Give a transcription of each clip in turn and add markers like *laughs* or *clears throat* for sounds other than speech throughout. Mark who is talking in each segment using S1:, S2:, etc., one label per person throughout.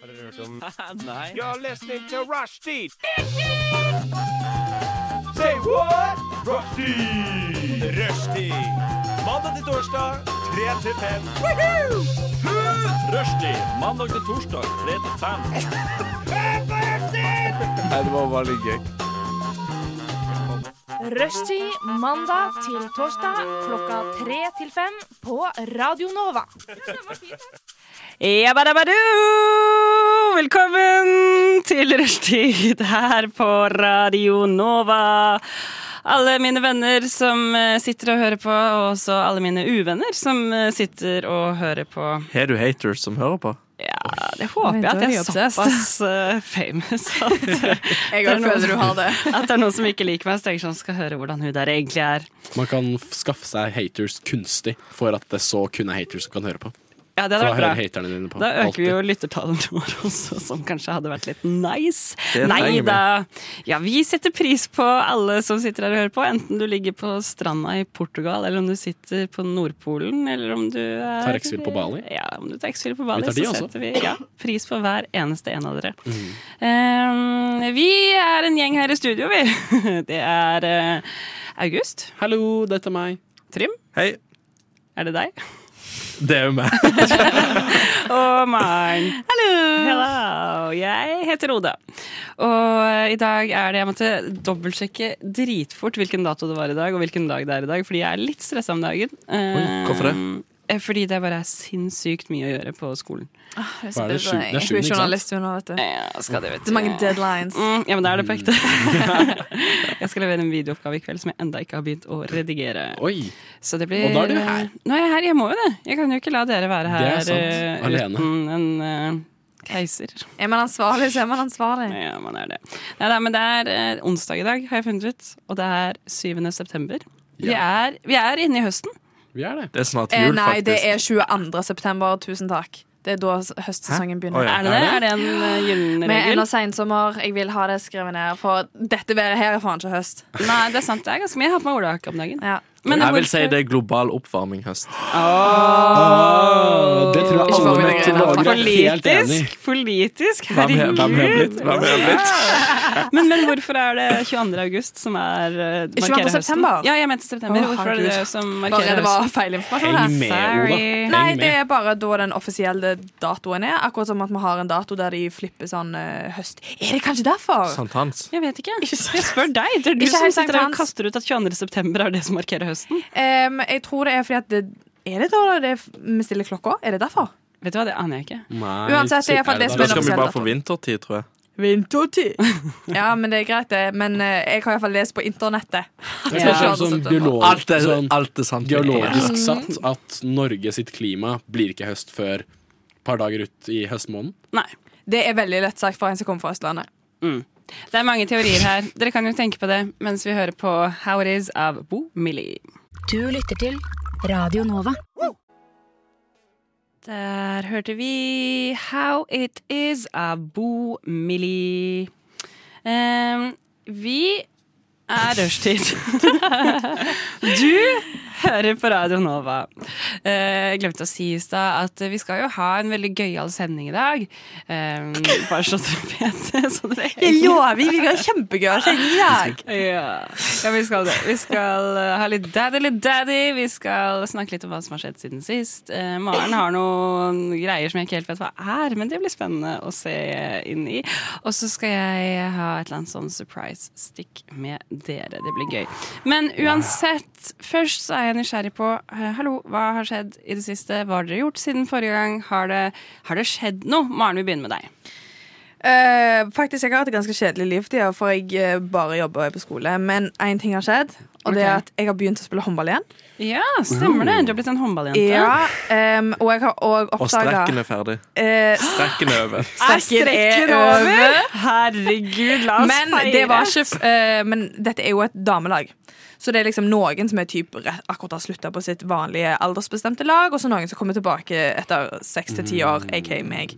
S1: Har dere hørt om
S2: Nei.
S1: You're listening to Rushdie! Say what? Rushdie! Rushdie! Mandag til torsdag, 3 til 5. Rushdie, mandag til torsdag, 3 til 5.
S3: Rushtid mandag til torsdag klokka tre til fem på Radio Nova.
S2: Jabadabadu! Velkommen til rushtid her på Radio Nova. Alle mine venner som eh, sitter og hører på, og også alle mine uvenner som eh, sitter og hører på.
S4: Har du haters som hører på?
S2: Ja, det håper jeg
S5: Oi,
S2: at
S5: da er
S2: jeg er
S5: vi obsessed.
S2: såpass eh, famous
S5: *laughs*
S2: at,
S5: Jeg
S2: Det er
S5: òg
S2: noe-
S5: føler du har det.
S2: at det er noen som ikke liker meg, så tenker jeg sånn skal høre hvordan hun der egentlig er.
S6: Man kan f- skaffe seg haters kunstig, for at det så kun er haters som kan høre på.
S2: Ja, det hadde
S6: For da
S2: vært
S6: hører
S2: bra.
S6: haterne dine på.
S2: Da øker vi
S6: alltid.
S2: jo lyttertallene våre også, som kanskje hadde vært litt nice.
S4: Det
S2: Nei
S4: trenger vi.
S2: da. Ja, vi setter pris på alle som sitter her og hører på, enten du ligger på stranda i Portugal, eller om du sitter på Nordpolen, eller om du er
S6: Tar X-Fill på Bali.
S2: Ja, om du tar X-Fill på Bali,
S6: Vi tar de
S2: så
S6: også. Mm.
S2: setter vi ja, pris på hver eneste en av dere. Eh, vi er en gjeng her i studio, vi. *laughs* Det er eh, August.
S6: Hallo, dette er meg.
S2: Trym,
S4: Hei.
S2: er det deg?
S4: Det er jo meg.
S2: Og mine. Hallo! Jeg heter Oda. Og i dag er det Jeg måtte dobbeltsjekke dritfort hvilken dato det var i dag, og hvilken dag det er i dag, fordi jeg er litt stressa om dagen. Eh,
S4: hvorfor det?
S2: eh, Fordi det bare er sinnssykt mye å gjøre på skolen.
S6: Hva er det, sju- det er
S5: Jeg
S6: sjuende,
S5: er
S6: ikke sant?
S5: journalist nå, vet du. Det
S2: Ja, skal det, vet
S5: er mange deadlines.
S2: Mm, ja, men da er det på ekte.
S6: *laughs*
S2: jeg skal levere en videooppgave i kveld som jeg enda ikke har begynt å redigere.
S6: *laughs* Oi.
S2: Så det blir
S6: Og da er du her.
S2: Nå er jeg her. Jeg må jo det. Jeg kan jo ikke la dere være
S6: Det er
S2: her
S6: sant.
S2: eh,
S6: Alene.
S2: uten en eh, keiser.
S5: Er man ansvarlig, så er man ansvarlig.
S2: Ja, man er det. Nei, da, men det er eh, onsdag i dag, har jeg funnet ut. Og det er 7. september. Vi, er, vi er inne i høsten.
S6: Vi er det.
S4: Det er snart
S5: Eh,
S4: jul,
S5: nei,
S4: faktisk.
S5: det er 22. september. Tusen takk. Det er da s- høstsesongen
S4: Å,
S5: begynner.
S4: ja.
S2: Er det det? Er det en eh, gyllen
S5: Med en
S2: regel?
S5: og sensommer. Jeg vil ha det skrevet ned, for dette været her er faen ikke høst.
S2: Nei, det er sant. Det er ganske mye. Jeg har på meg olajakke om dagen.
S5: Ja.
S2: Men
S4: Jeg vil
S2: hvorfor-
S4: si det er global oppvarming høst.
S6: Ah, det tror jeg
S5: Ikke
S6: alle
S5: for mye,
S6: meteorologer er helt enig i.
S2: Politisk! Politisk,
S4: Hvem er hvem er
S2: herregud!
S4: blitt? Hvem er blitt?
S2: Men, men hvorfor er det 22. august som er eh,
S5: 22.
S2: markerer høsten?
S5: september?
S2: Ja, jeg mente september.
S5: Å,
S2: Hvorfor er det
S5: herregud.
S2: det som
S5: Bare
S2: markerer
S5: det var
S2: høsten?
S5: feil informasjon
S6: Heng
S5: her.
S6: med, Oda.
S2: Sorry.
S6: Heng
S5: Nei, det
S6: med.
S5: er bare da den offisielle datoen er. Akkurat som at vi har en dato der de flipper sånn eh, høst. Er det kanskje derfor?
S6: Sånn.
S4: Sankthans.
S2: Jeg vet ikke. Jeg spør deg. Det er du
S5: Ikke
S2: som
S5: helt
S2: sitter der og
S5: sankthans.
S2: kaster ut at 22. september er det som markerer høsten.
S5: Em, jeg tror det er fordi at det, Er det da det vi stiller klokka? Er det derfor?
S2: Vet du hva, det aner jeg ikke.
S6: Nei,
S5: Uansett, det er iallfall det som
S4: Da skal vi
S5: er
S6: altså,
S5: offisiell
S4: bare
S5: dato.
S4: få vintertid, tror jeg.
S5: Vintertid. ja, men det er greit, det. Men eh, jeg har iallfall lest på internettet.
S6: Det er kanskje
S2: Ja.
S6: sånn biologisk,
S4: Alt er,
S6: sånn
S4: alt er sant.
S6: geologisk satt at Norge sitt klima blir ikke høst før et par dager ut i høstmåneden.
S2: Nei.
S5: Det er veldig lett sagt for en som kommer fra Østlandet.
S2: Det er mange teorier her. Dere kan jo tenke på det mens vi hører på How It Is av Bo Millie.
S7: Du lytter til Radio Nova.
S2: Der hørte vi How It Is av Bo Millie. Ehm, vi er rushtid. *laughs* du hører på Radio Nova. Eh, Jeg glemte å si i stad at vi skal jo ha en veldig gøyal sending i dag. Ehm, bare så dere vet det. Så dere henger
S5: lover, vi har kjempegøy sending i dag.
S2: Ja. ja, vi skal det. Vi skal eh, ha litt daddy, litt daddy. Vi skal snakke litt om hva som har skjedd siden sist. Eh, Maren har noen greier som jeg ikke helt vet hva er, men det blir spennende å se inn i. Og så skal jeg ha et eller annet sånn surprise-stikk med dere. Det blir gøy. Men uansett, først så er jeg nysgjerrig på eh, Hallo, hva har skjedd i det siste? Hva har dere gjort siden forrige gang? Har det, har det skjedd noe? Maren, vi begynner med deg.
S5: Eh, faktisk, jeg har hatt et ganske kjedelig liv til tida, for jeg eh, bare jobber på skole. Men én ting har skjedd, og det er
S2: Ok.
S5: at jeg har begynt å spille håndball igjen.
S2: Ja, stemmer det. Uh. Du har blitt en håndballjente.
S5: Ja, em, og jeg har eh, òg
S4: Og strekken
S5: oppdaga
S4: er ferdig. Strekken er *gasps* over.
S5: Strekken er over.
S2: Herregud, la oss
S5: Men
S2: feire.
S5: det var ikke f- eh, Men dette er jo et damelag. Så det er liksom noen som er typ re- akkurat har slutta på sitt vanlige aldersbestemte lag, og så noen som kommer tilbake etter seks til ti år, aka meg.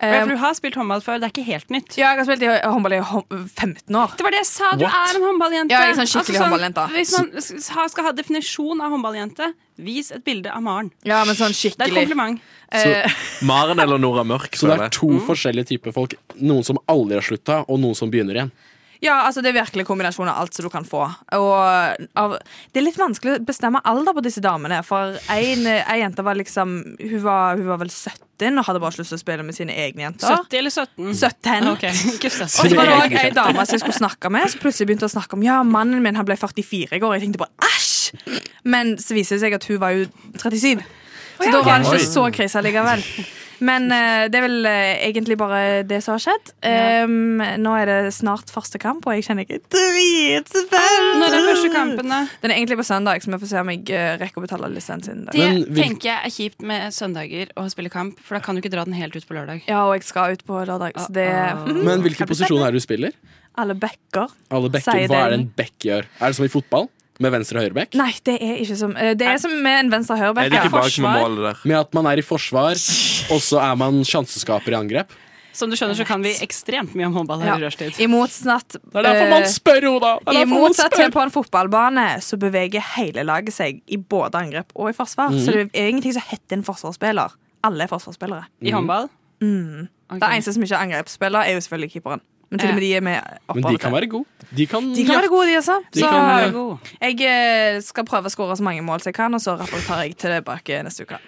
S2: Ja,
S5: Eh,
S2: for du har spilt håndball før, det er ikke helt nytt.
S5: ja, jeg har spilt i hå- håndball i hå- 15 år.
S2: Det var det jeg sa, du
S6: What?
S2: er en håndballjente. Altså,
S5: Ja, jeg er sånn skikkelig håndballjente.
S2: Hvis man s- s- ha- skal ha definisjon av håndballjente, vis et bilde av Maren.
S5: Ja, men sånn
S2: Det er et
S5: skikkelig.
S2: kompliment.
S5: Eh,
S4: Maren eller Nora Mørk,
S6: Så det
S4: føler
S6: er
S4: jeg.
S6: to forskjellige typer folk. Noen som aldri har slutta, og noen som begynner igjen.
S5: ja, altså Det er virkelig kombinasjon av alt som du kan få. Og av, det er litt vanskelig å bestemme alder på disse damene. For en, en jente var liksom hun var, hun var vel 17 og hadde bare ikke lyst til å spille med sine egne jenter.
S2: 70 eller 17?
S5: 17.
S2: Ok, ikke
S5: Og så
S2: 70.
S5: var det også ei dame som jeg skulle snakke med, som plutselig begynte å snakke om Ja, mannen min han ble 44 i går. Jeg tenkte bare æsj! Men så viser det seg at hun var jo 37. Så da var det ikke så krise likevel. Men eh, det er vel eh, egentlig bare det som har skjedd. Ehm, nå er det snart første kamp, og jeg kjenner ikke dritspent.
S2: Når er første kampen, da?
S5: Den er egentlig på søndag, så vi får se om jeg eh, rekker å betale lisensen. i dag.
S2: Det
S6: Men vil-
S2: tenker jeg er kjipt med søndager og spille kamp, for da kan du ikke dra den helt ut på lørdag.
S5: Ja, og jeg skal ut på lørdag, så det
S4: Ah,
S2: Uh-oh.
S6: Men hvilke posisjoner er det du spiller?
S5: Alle backer.
S6: Alle bekker,
S5: Sier
S6: Hva er det
S5: den.
S6: en bekk gjør? Er det som i fotball? Med venstre og høyre bekk?
S5: Nei, det er ikke som eh, Det er som med en venstre
S4: Er det
S5: høyreback.
S4: ikke bak med
S2: Forsvar.
S4: målet der?
S6: Med at man er i forsvar, og så er man sjanseskaper i
S5: *laughs*
S6: angrep?
S5: Eh,
S2: Som du skjønner, så kan vi ekstremt mye om håndball her i rushtid.
S5: I motsatt
S6: Det er derfor
S5: eh,
S6: man spør, Oda! Det er
S5: I
S6: derfor man
S5: motsatt til
S6: spør.
S5: på en fotballbane så beveger hele laget seg i både angrep og i forsvar. Så det er ingenting som heter en forsvarsspiller. Alle er forsvarsspillere.
S2: I håndball.
S6: Mm.
S2: Mm. Ok.
S5: Det eneste som ikke er angrepsspiller, er jo selvfølgelig keeperen. Men til og med de er med
S6: Men
S5: oppover.
S6: de kan være gode. De kan,
S5: de kan være gode, de også.
S6: De
S5: så
S6: kan være
S2: god.
S5: jeg eh, skal prøve å skåre så mange mål som jeg kan, og så rapporterer jeg tilbake neste uke.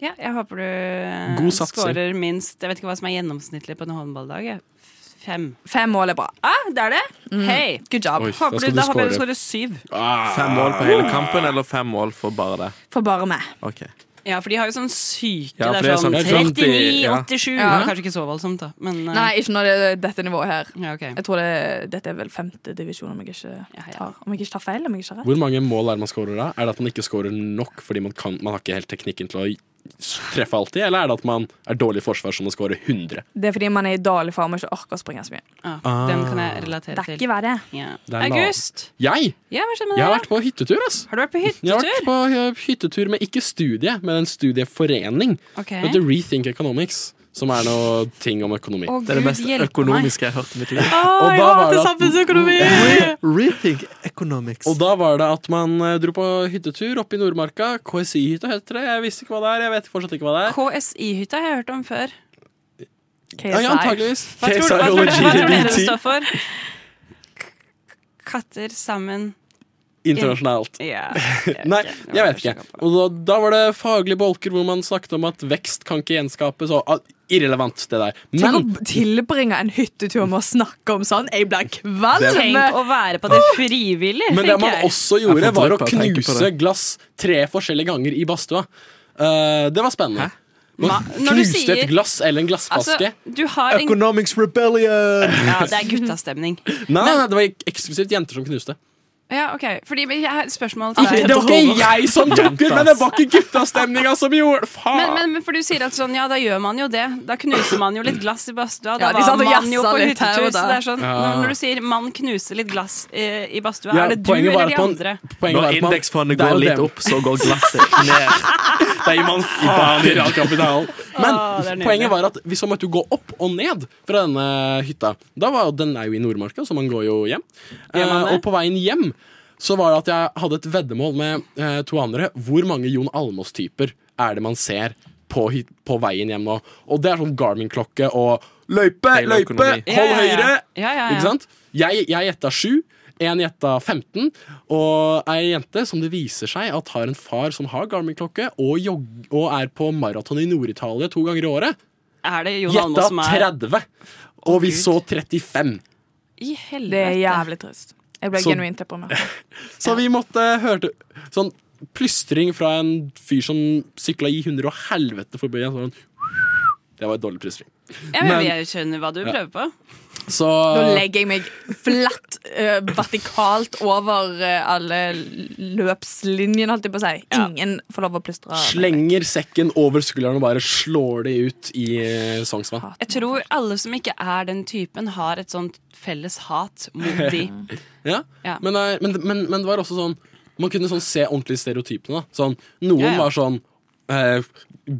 S2: Ja, jeg håper du eh,
S6: God satsing.
S2: scorer minst Jeg vet ikke hva som er gjennomsnittlig på en håndballdag. jeg. Fem.
S5: Fem mål er bra.
S2: Ah, det er det? Hei!
S5: Good job.
S6: Oi, da
S2: Håper du,
S6: skal du
S2: da håper jeg du
S6: score.
S2: scorer syv.
S6: Ah,
S4: Fem mål på hele kampen, eller fem mål for bare det?
S5: For bare meg.
S4: Ok.
S2: Ja, for de har jo sånn syke
S4: Ja, for
S2: Det er sånn
S4: det er sånn
S2: 39,
S4: 50, ja.
S2: 87
S5: Ja.
S2: Det er Kanskje ikke så voldsomt, da. Men eh,
S5: Nei, ikke når det er dette nivået her.
S2: Ja, ok.
S5: Jeg tror det, dette er vel femte divisjon, om jeg
S2: Ja,
S5: ikke
S2: ja.
S5: tar, om jeg ikke tar feil. om jeg ikke tar rett.
S6: Hvor mange mål er det man scorer da? Er det at man ikke scorer nok fordi man, kan, man har ikke helt teknikken til å treffe alltid, eller er det at man er dårlig i forsvar så man scorer 100?
S5: Det er fordi man er i dårlig form og ikke orker å springe så mye.
S2: ja, Den kan jeg relatere
S5: Det er
S2: til.
S5: ikke verre.
S2: Ja.
S6: Ah. Det er
S2: August!
S6: Jeg?
S2: Ja, hva skjer med
S6: Jeg
S2: deg?
S6: har
S2: da?
S6: vært på hyttetur, ass.
S2: Har du vært på
S6: Jeg har vært
S2: hyttetur?
S6: på eh, hyttetur med ikke studie, men en studieforening.
S2: Ok.
S6: Det heter Rethink Economics, som er noe ting om økonomi.
S2: Å,
S4: Det er det
S2: Gud,
S4: mest
S2: hjelpe
S4: økonomiske jeg har hørt i mitt liv.
S2: Meg.
S6: Og
S2: Å, jeg
S6: da var
S2: hater
S6: det at-
S2: samfunnsøkonomi!
S6: *laughs*
S4: Rethink economics.
S6: Og da var det at man eh, dro på hyttetur oppe i Nordmarka. KSI-hytta heter det. Jeg visste ikke hva det er. Jeg vet fortsatt ikke hva det er.
S2: KSI-hytta har jeg hørt om før.
S5: KSI.
S6: Ja, ja, antageligvis.
S2: Hva tror, du- hva tror, du- hva tror dere det står for? K- Katter sammen
S6: Internasjonalt.
S2: Ja.
S6: *laughs* Nei, jeg vet ikke. Og da, da var det faglige bolker hvor man snakket om at vekst kan ikke gjenskapes. Og, ah, irrelevant, det der.
S5: Tenk å
S2: *laughs*
S6: Men
S5: tilbringe en hyttetur med å snakke om sånn. Jeg blir kvalm!
S2: Tenk å være på det frivillig,
S6: Men det man
S2: tenker jeg.
S6: også
S4: Jeg
S6: gjorde,
S4: får
S6: var
S4: drypp av
S6: å
S4: å tenke på
S6: knuse
S4: det.
S6: glass tre forskjellige ganger i badstua. Eh, det var spennende. Man
S2: Ma- når du
S6: knuste
S2: sier-
S6: et glass eller en
S2: Altså,
S6: glassflaske.
S2: du har en
S4: Economics rebellion!
S2: Ja, det er guttastemning.
S6: nei, nei, det var ek- eksklusivt jenter som knuste.
S2: Ja, ok. Fordi men jeg har et spørsmål til
S6: Det
S2: deg.
S6: var ikke jeg som tok ut, men det var ikke guttastemninga som gjorde det!
S2: Men,
S6: Faen!
S2: men, men for du sier at sånn, ja, da gjør man jo det. Da knuser man jo litt glass i badstua.
S5: Ja,
S2: Da
S5: de
S2: var
S5: satt og
S2: man jo
S5: jassa
S2: på
S5: litt her
S2: hyttetur.
S5: og
S2: Så
S5: der.
S2: det er sånn,
S6: Ja.
S2: når du sier 'man knuser litt glass eh, i badstua',
S6: Ja,
S2: er det du
S6: poenget var
S2: eller de
S6: at man-
S2: andre?
S6: Poenget var
S4: Når
S6: at man-
S4: indeksfondet
S6: det
S4: går
S6: er jo
S4: litt
S6: dem.
S4: opp, så går
S6: *laughs*
S4: glasset ned.
S6: Da gir man faen i realkapitalen. Men
S2: Å, Ah, det er nydelig.
S6: poenget var at vi så måtte jo gå opp og ned fra denne hytta. Da var jo, Den er jo i Nordmarka, så man går jo hjem.
S2: Gjør man
S6: Eh,
S2: det?
S6: og på veien hjem så var det at jeg hadde et veddemål med eh, to andre. Hvor mange Jon Almås-typer er det man ser på, hy- på veien hjem nå? Og det er sånn Garmin-klokke og løype,
S4: Del
S6: løype,
S4: økonomi.
S6: hold
S2: Ja, ja, ja.
S6: høyre!
S2: Ja, ja, ja.
S6: Ikke sant? Jeg, jeg gjetta sju. En gjetta 15, og ei jente som det viser seg at har en far som har Garmin-klokke, og, jogg- og er på maraton i Nord-Italia to ganger i året,
S2: Er det Jon
S6: gjetta
S2: Almaas som er
S6: 30. Og vi så 35.
S5: Det er
S2: I helvete.
S5: jævlig trist. Jeg ble
S6: Så-
S5: genuint deprimert.
S6: Så vi måtte høre sånn plystring fra en fyr som sykla i hundre og helvete forbi. en Sånn. Det var et dårlig plystring.
S2: Ja, men
S6: Men-
S2: jeg skjønner hva du prøver på.
S6: Så
S5: Nå legger jeg meg flatt eh, vertikalt over eh, alle løpslinjene, holdt jeg på å si. Ingen får lov å plystre.
S6: slenger sekken over skulderen og bare slår de ut i eh, Sognsvann.
S2: Jeg tror alle som ikke er den typen, har et sånt felles hat mot
S6: *laughs*
S2: de.
S6: Ja.
S2: Ja.
S6: Men, det er- men, men, men det var også sånn Man kunne sånn se ordentlig stereotypene. Da. Sånn, noen
S2: Ja, ja.
S6: var sånn eh,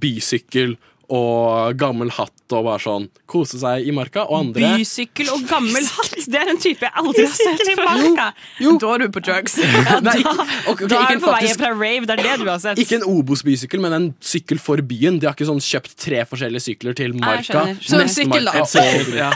S6: bisykkel og gammel hatt og bare sånn kose seg i marka. Og andre
S2: Bysykkel og gammel hatt! Det er en type jeg aldri har sett før.
S5: Da er du på
S2: *laughs*
S5: drugs.
S6: Nei, ikke, ok, ok,
S2: Da er du
S6: ikke en
S2: på vei
S6: faktisk
S2: fra rave, det er det du har sett.
S6: ikke en Obos-bysykkel, men en sykkel for byen. De har ikke sånn kjøpt tre forskjellige sykler til marka.
S2: skjønner, Sånn skjønner.
S6: Nesten
S5: Sykkel, da.
S6: marka.
S8: En sykkel.
S6: Ja.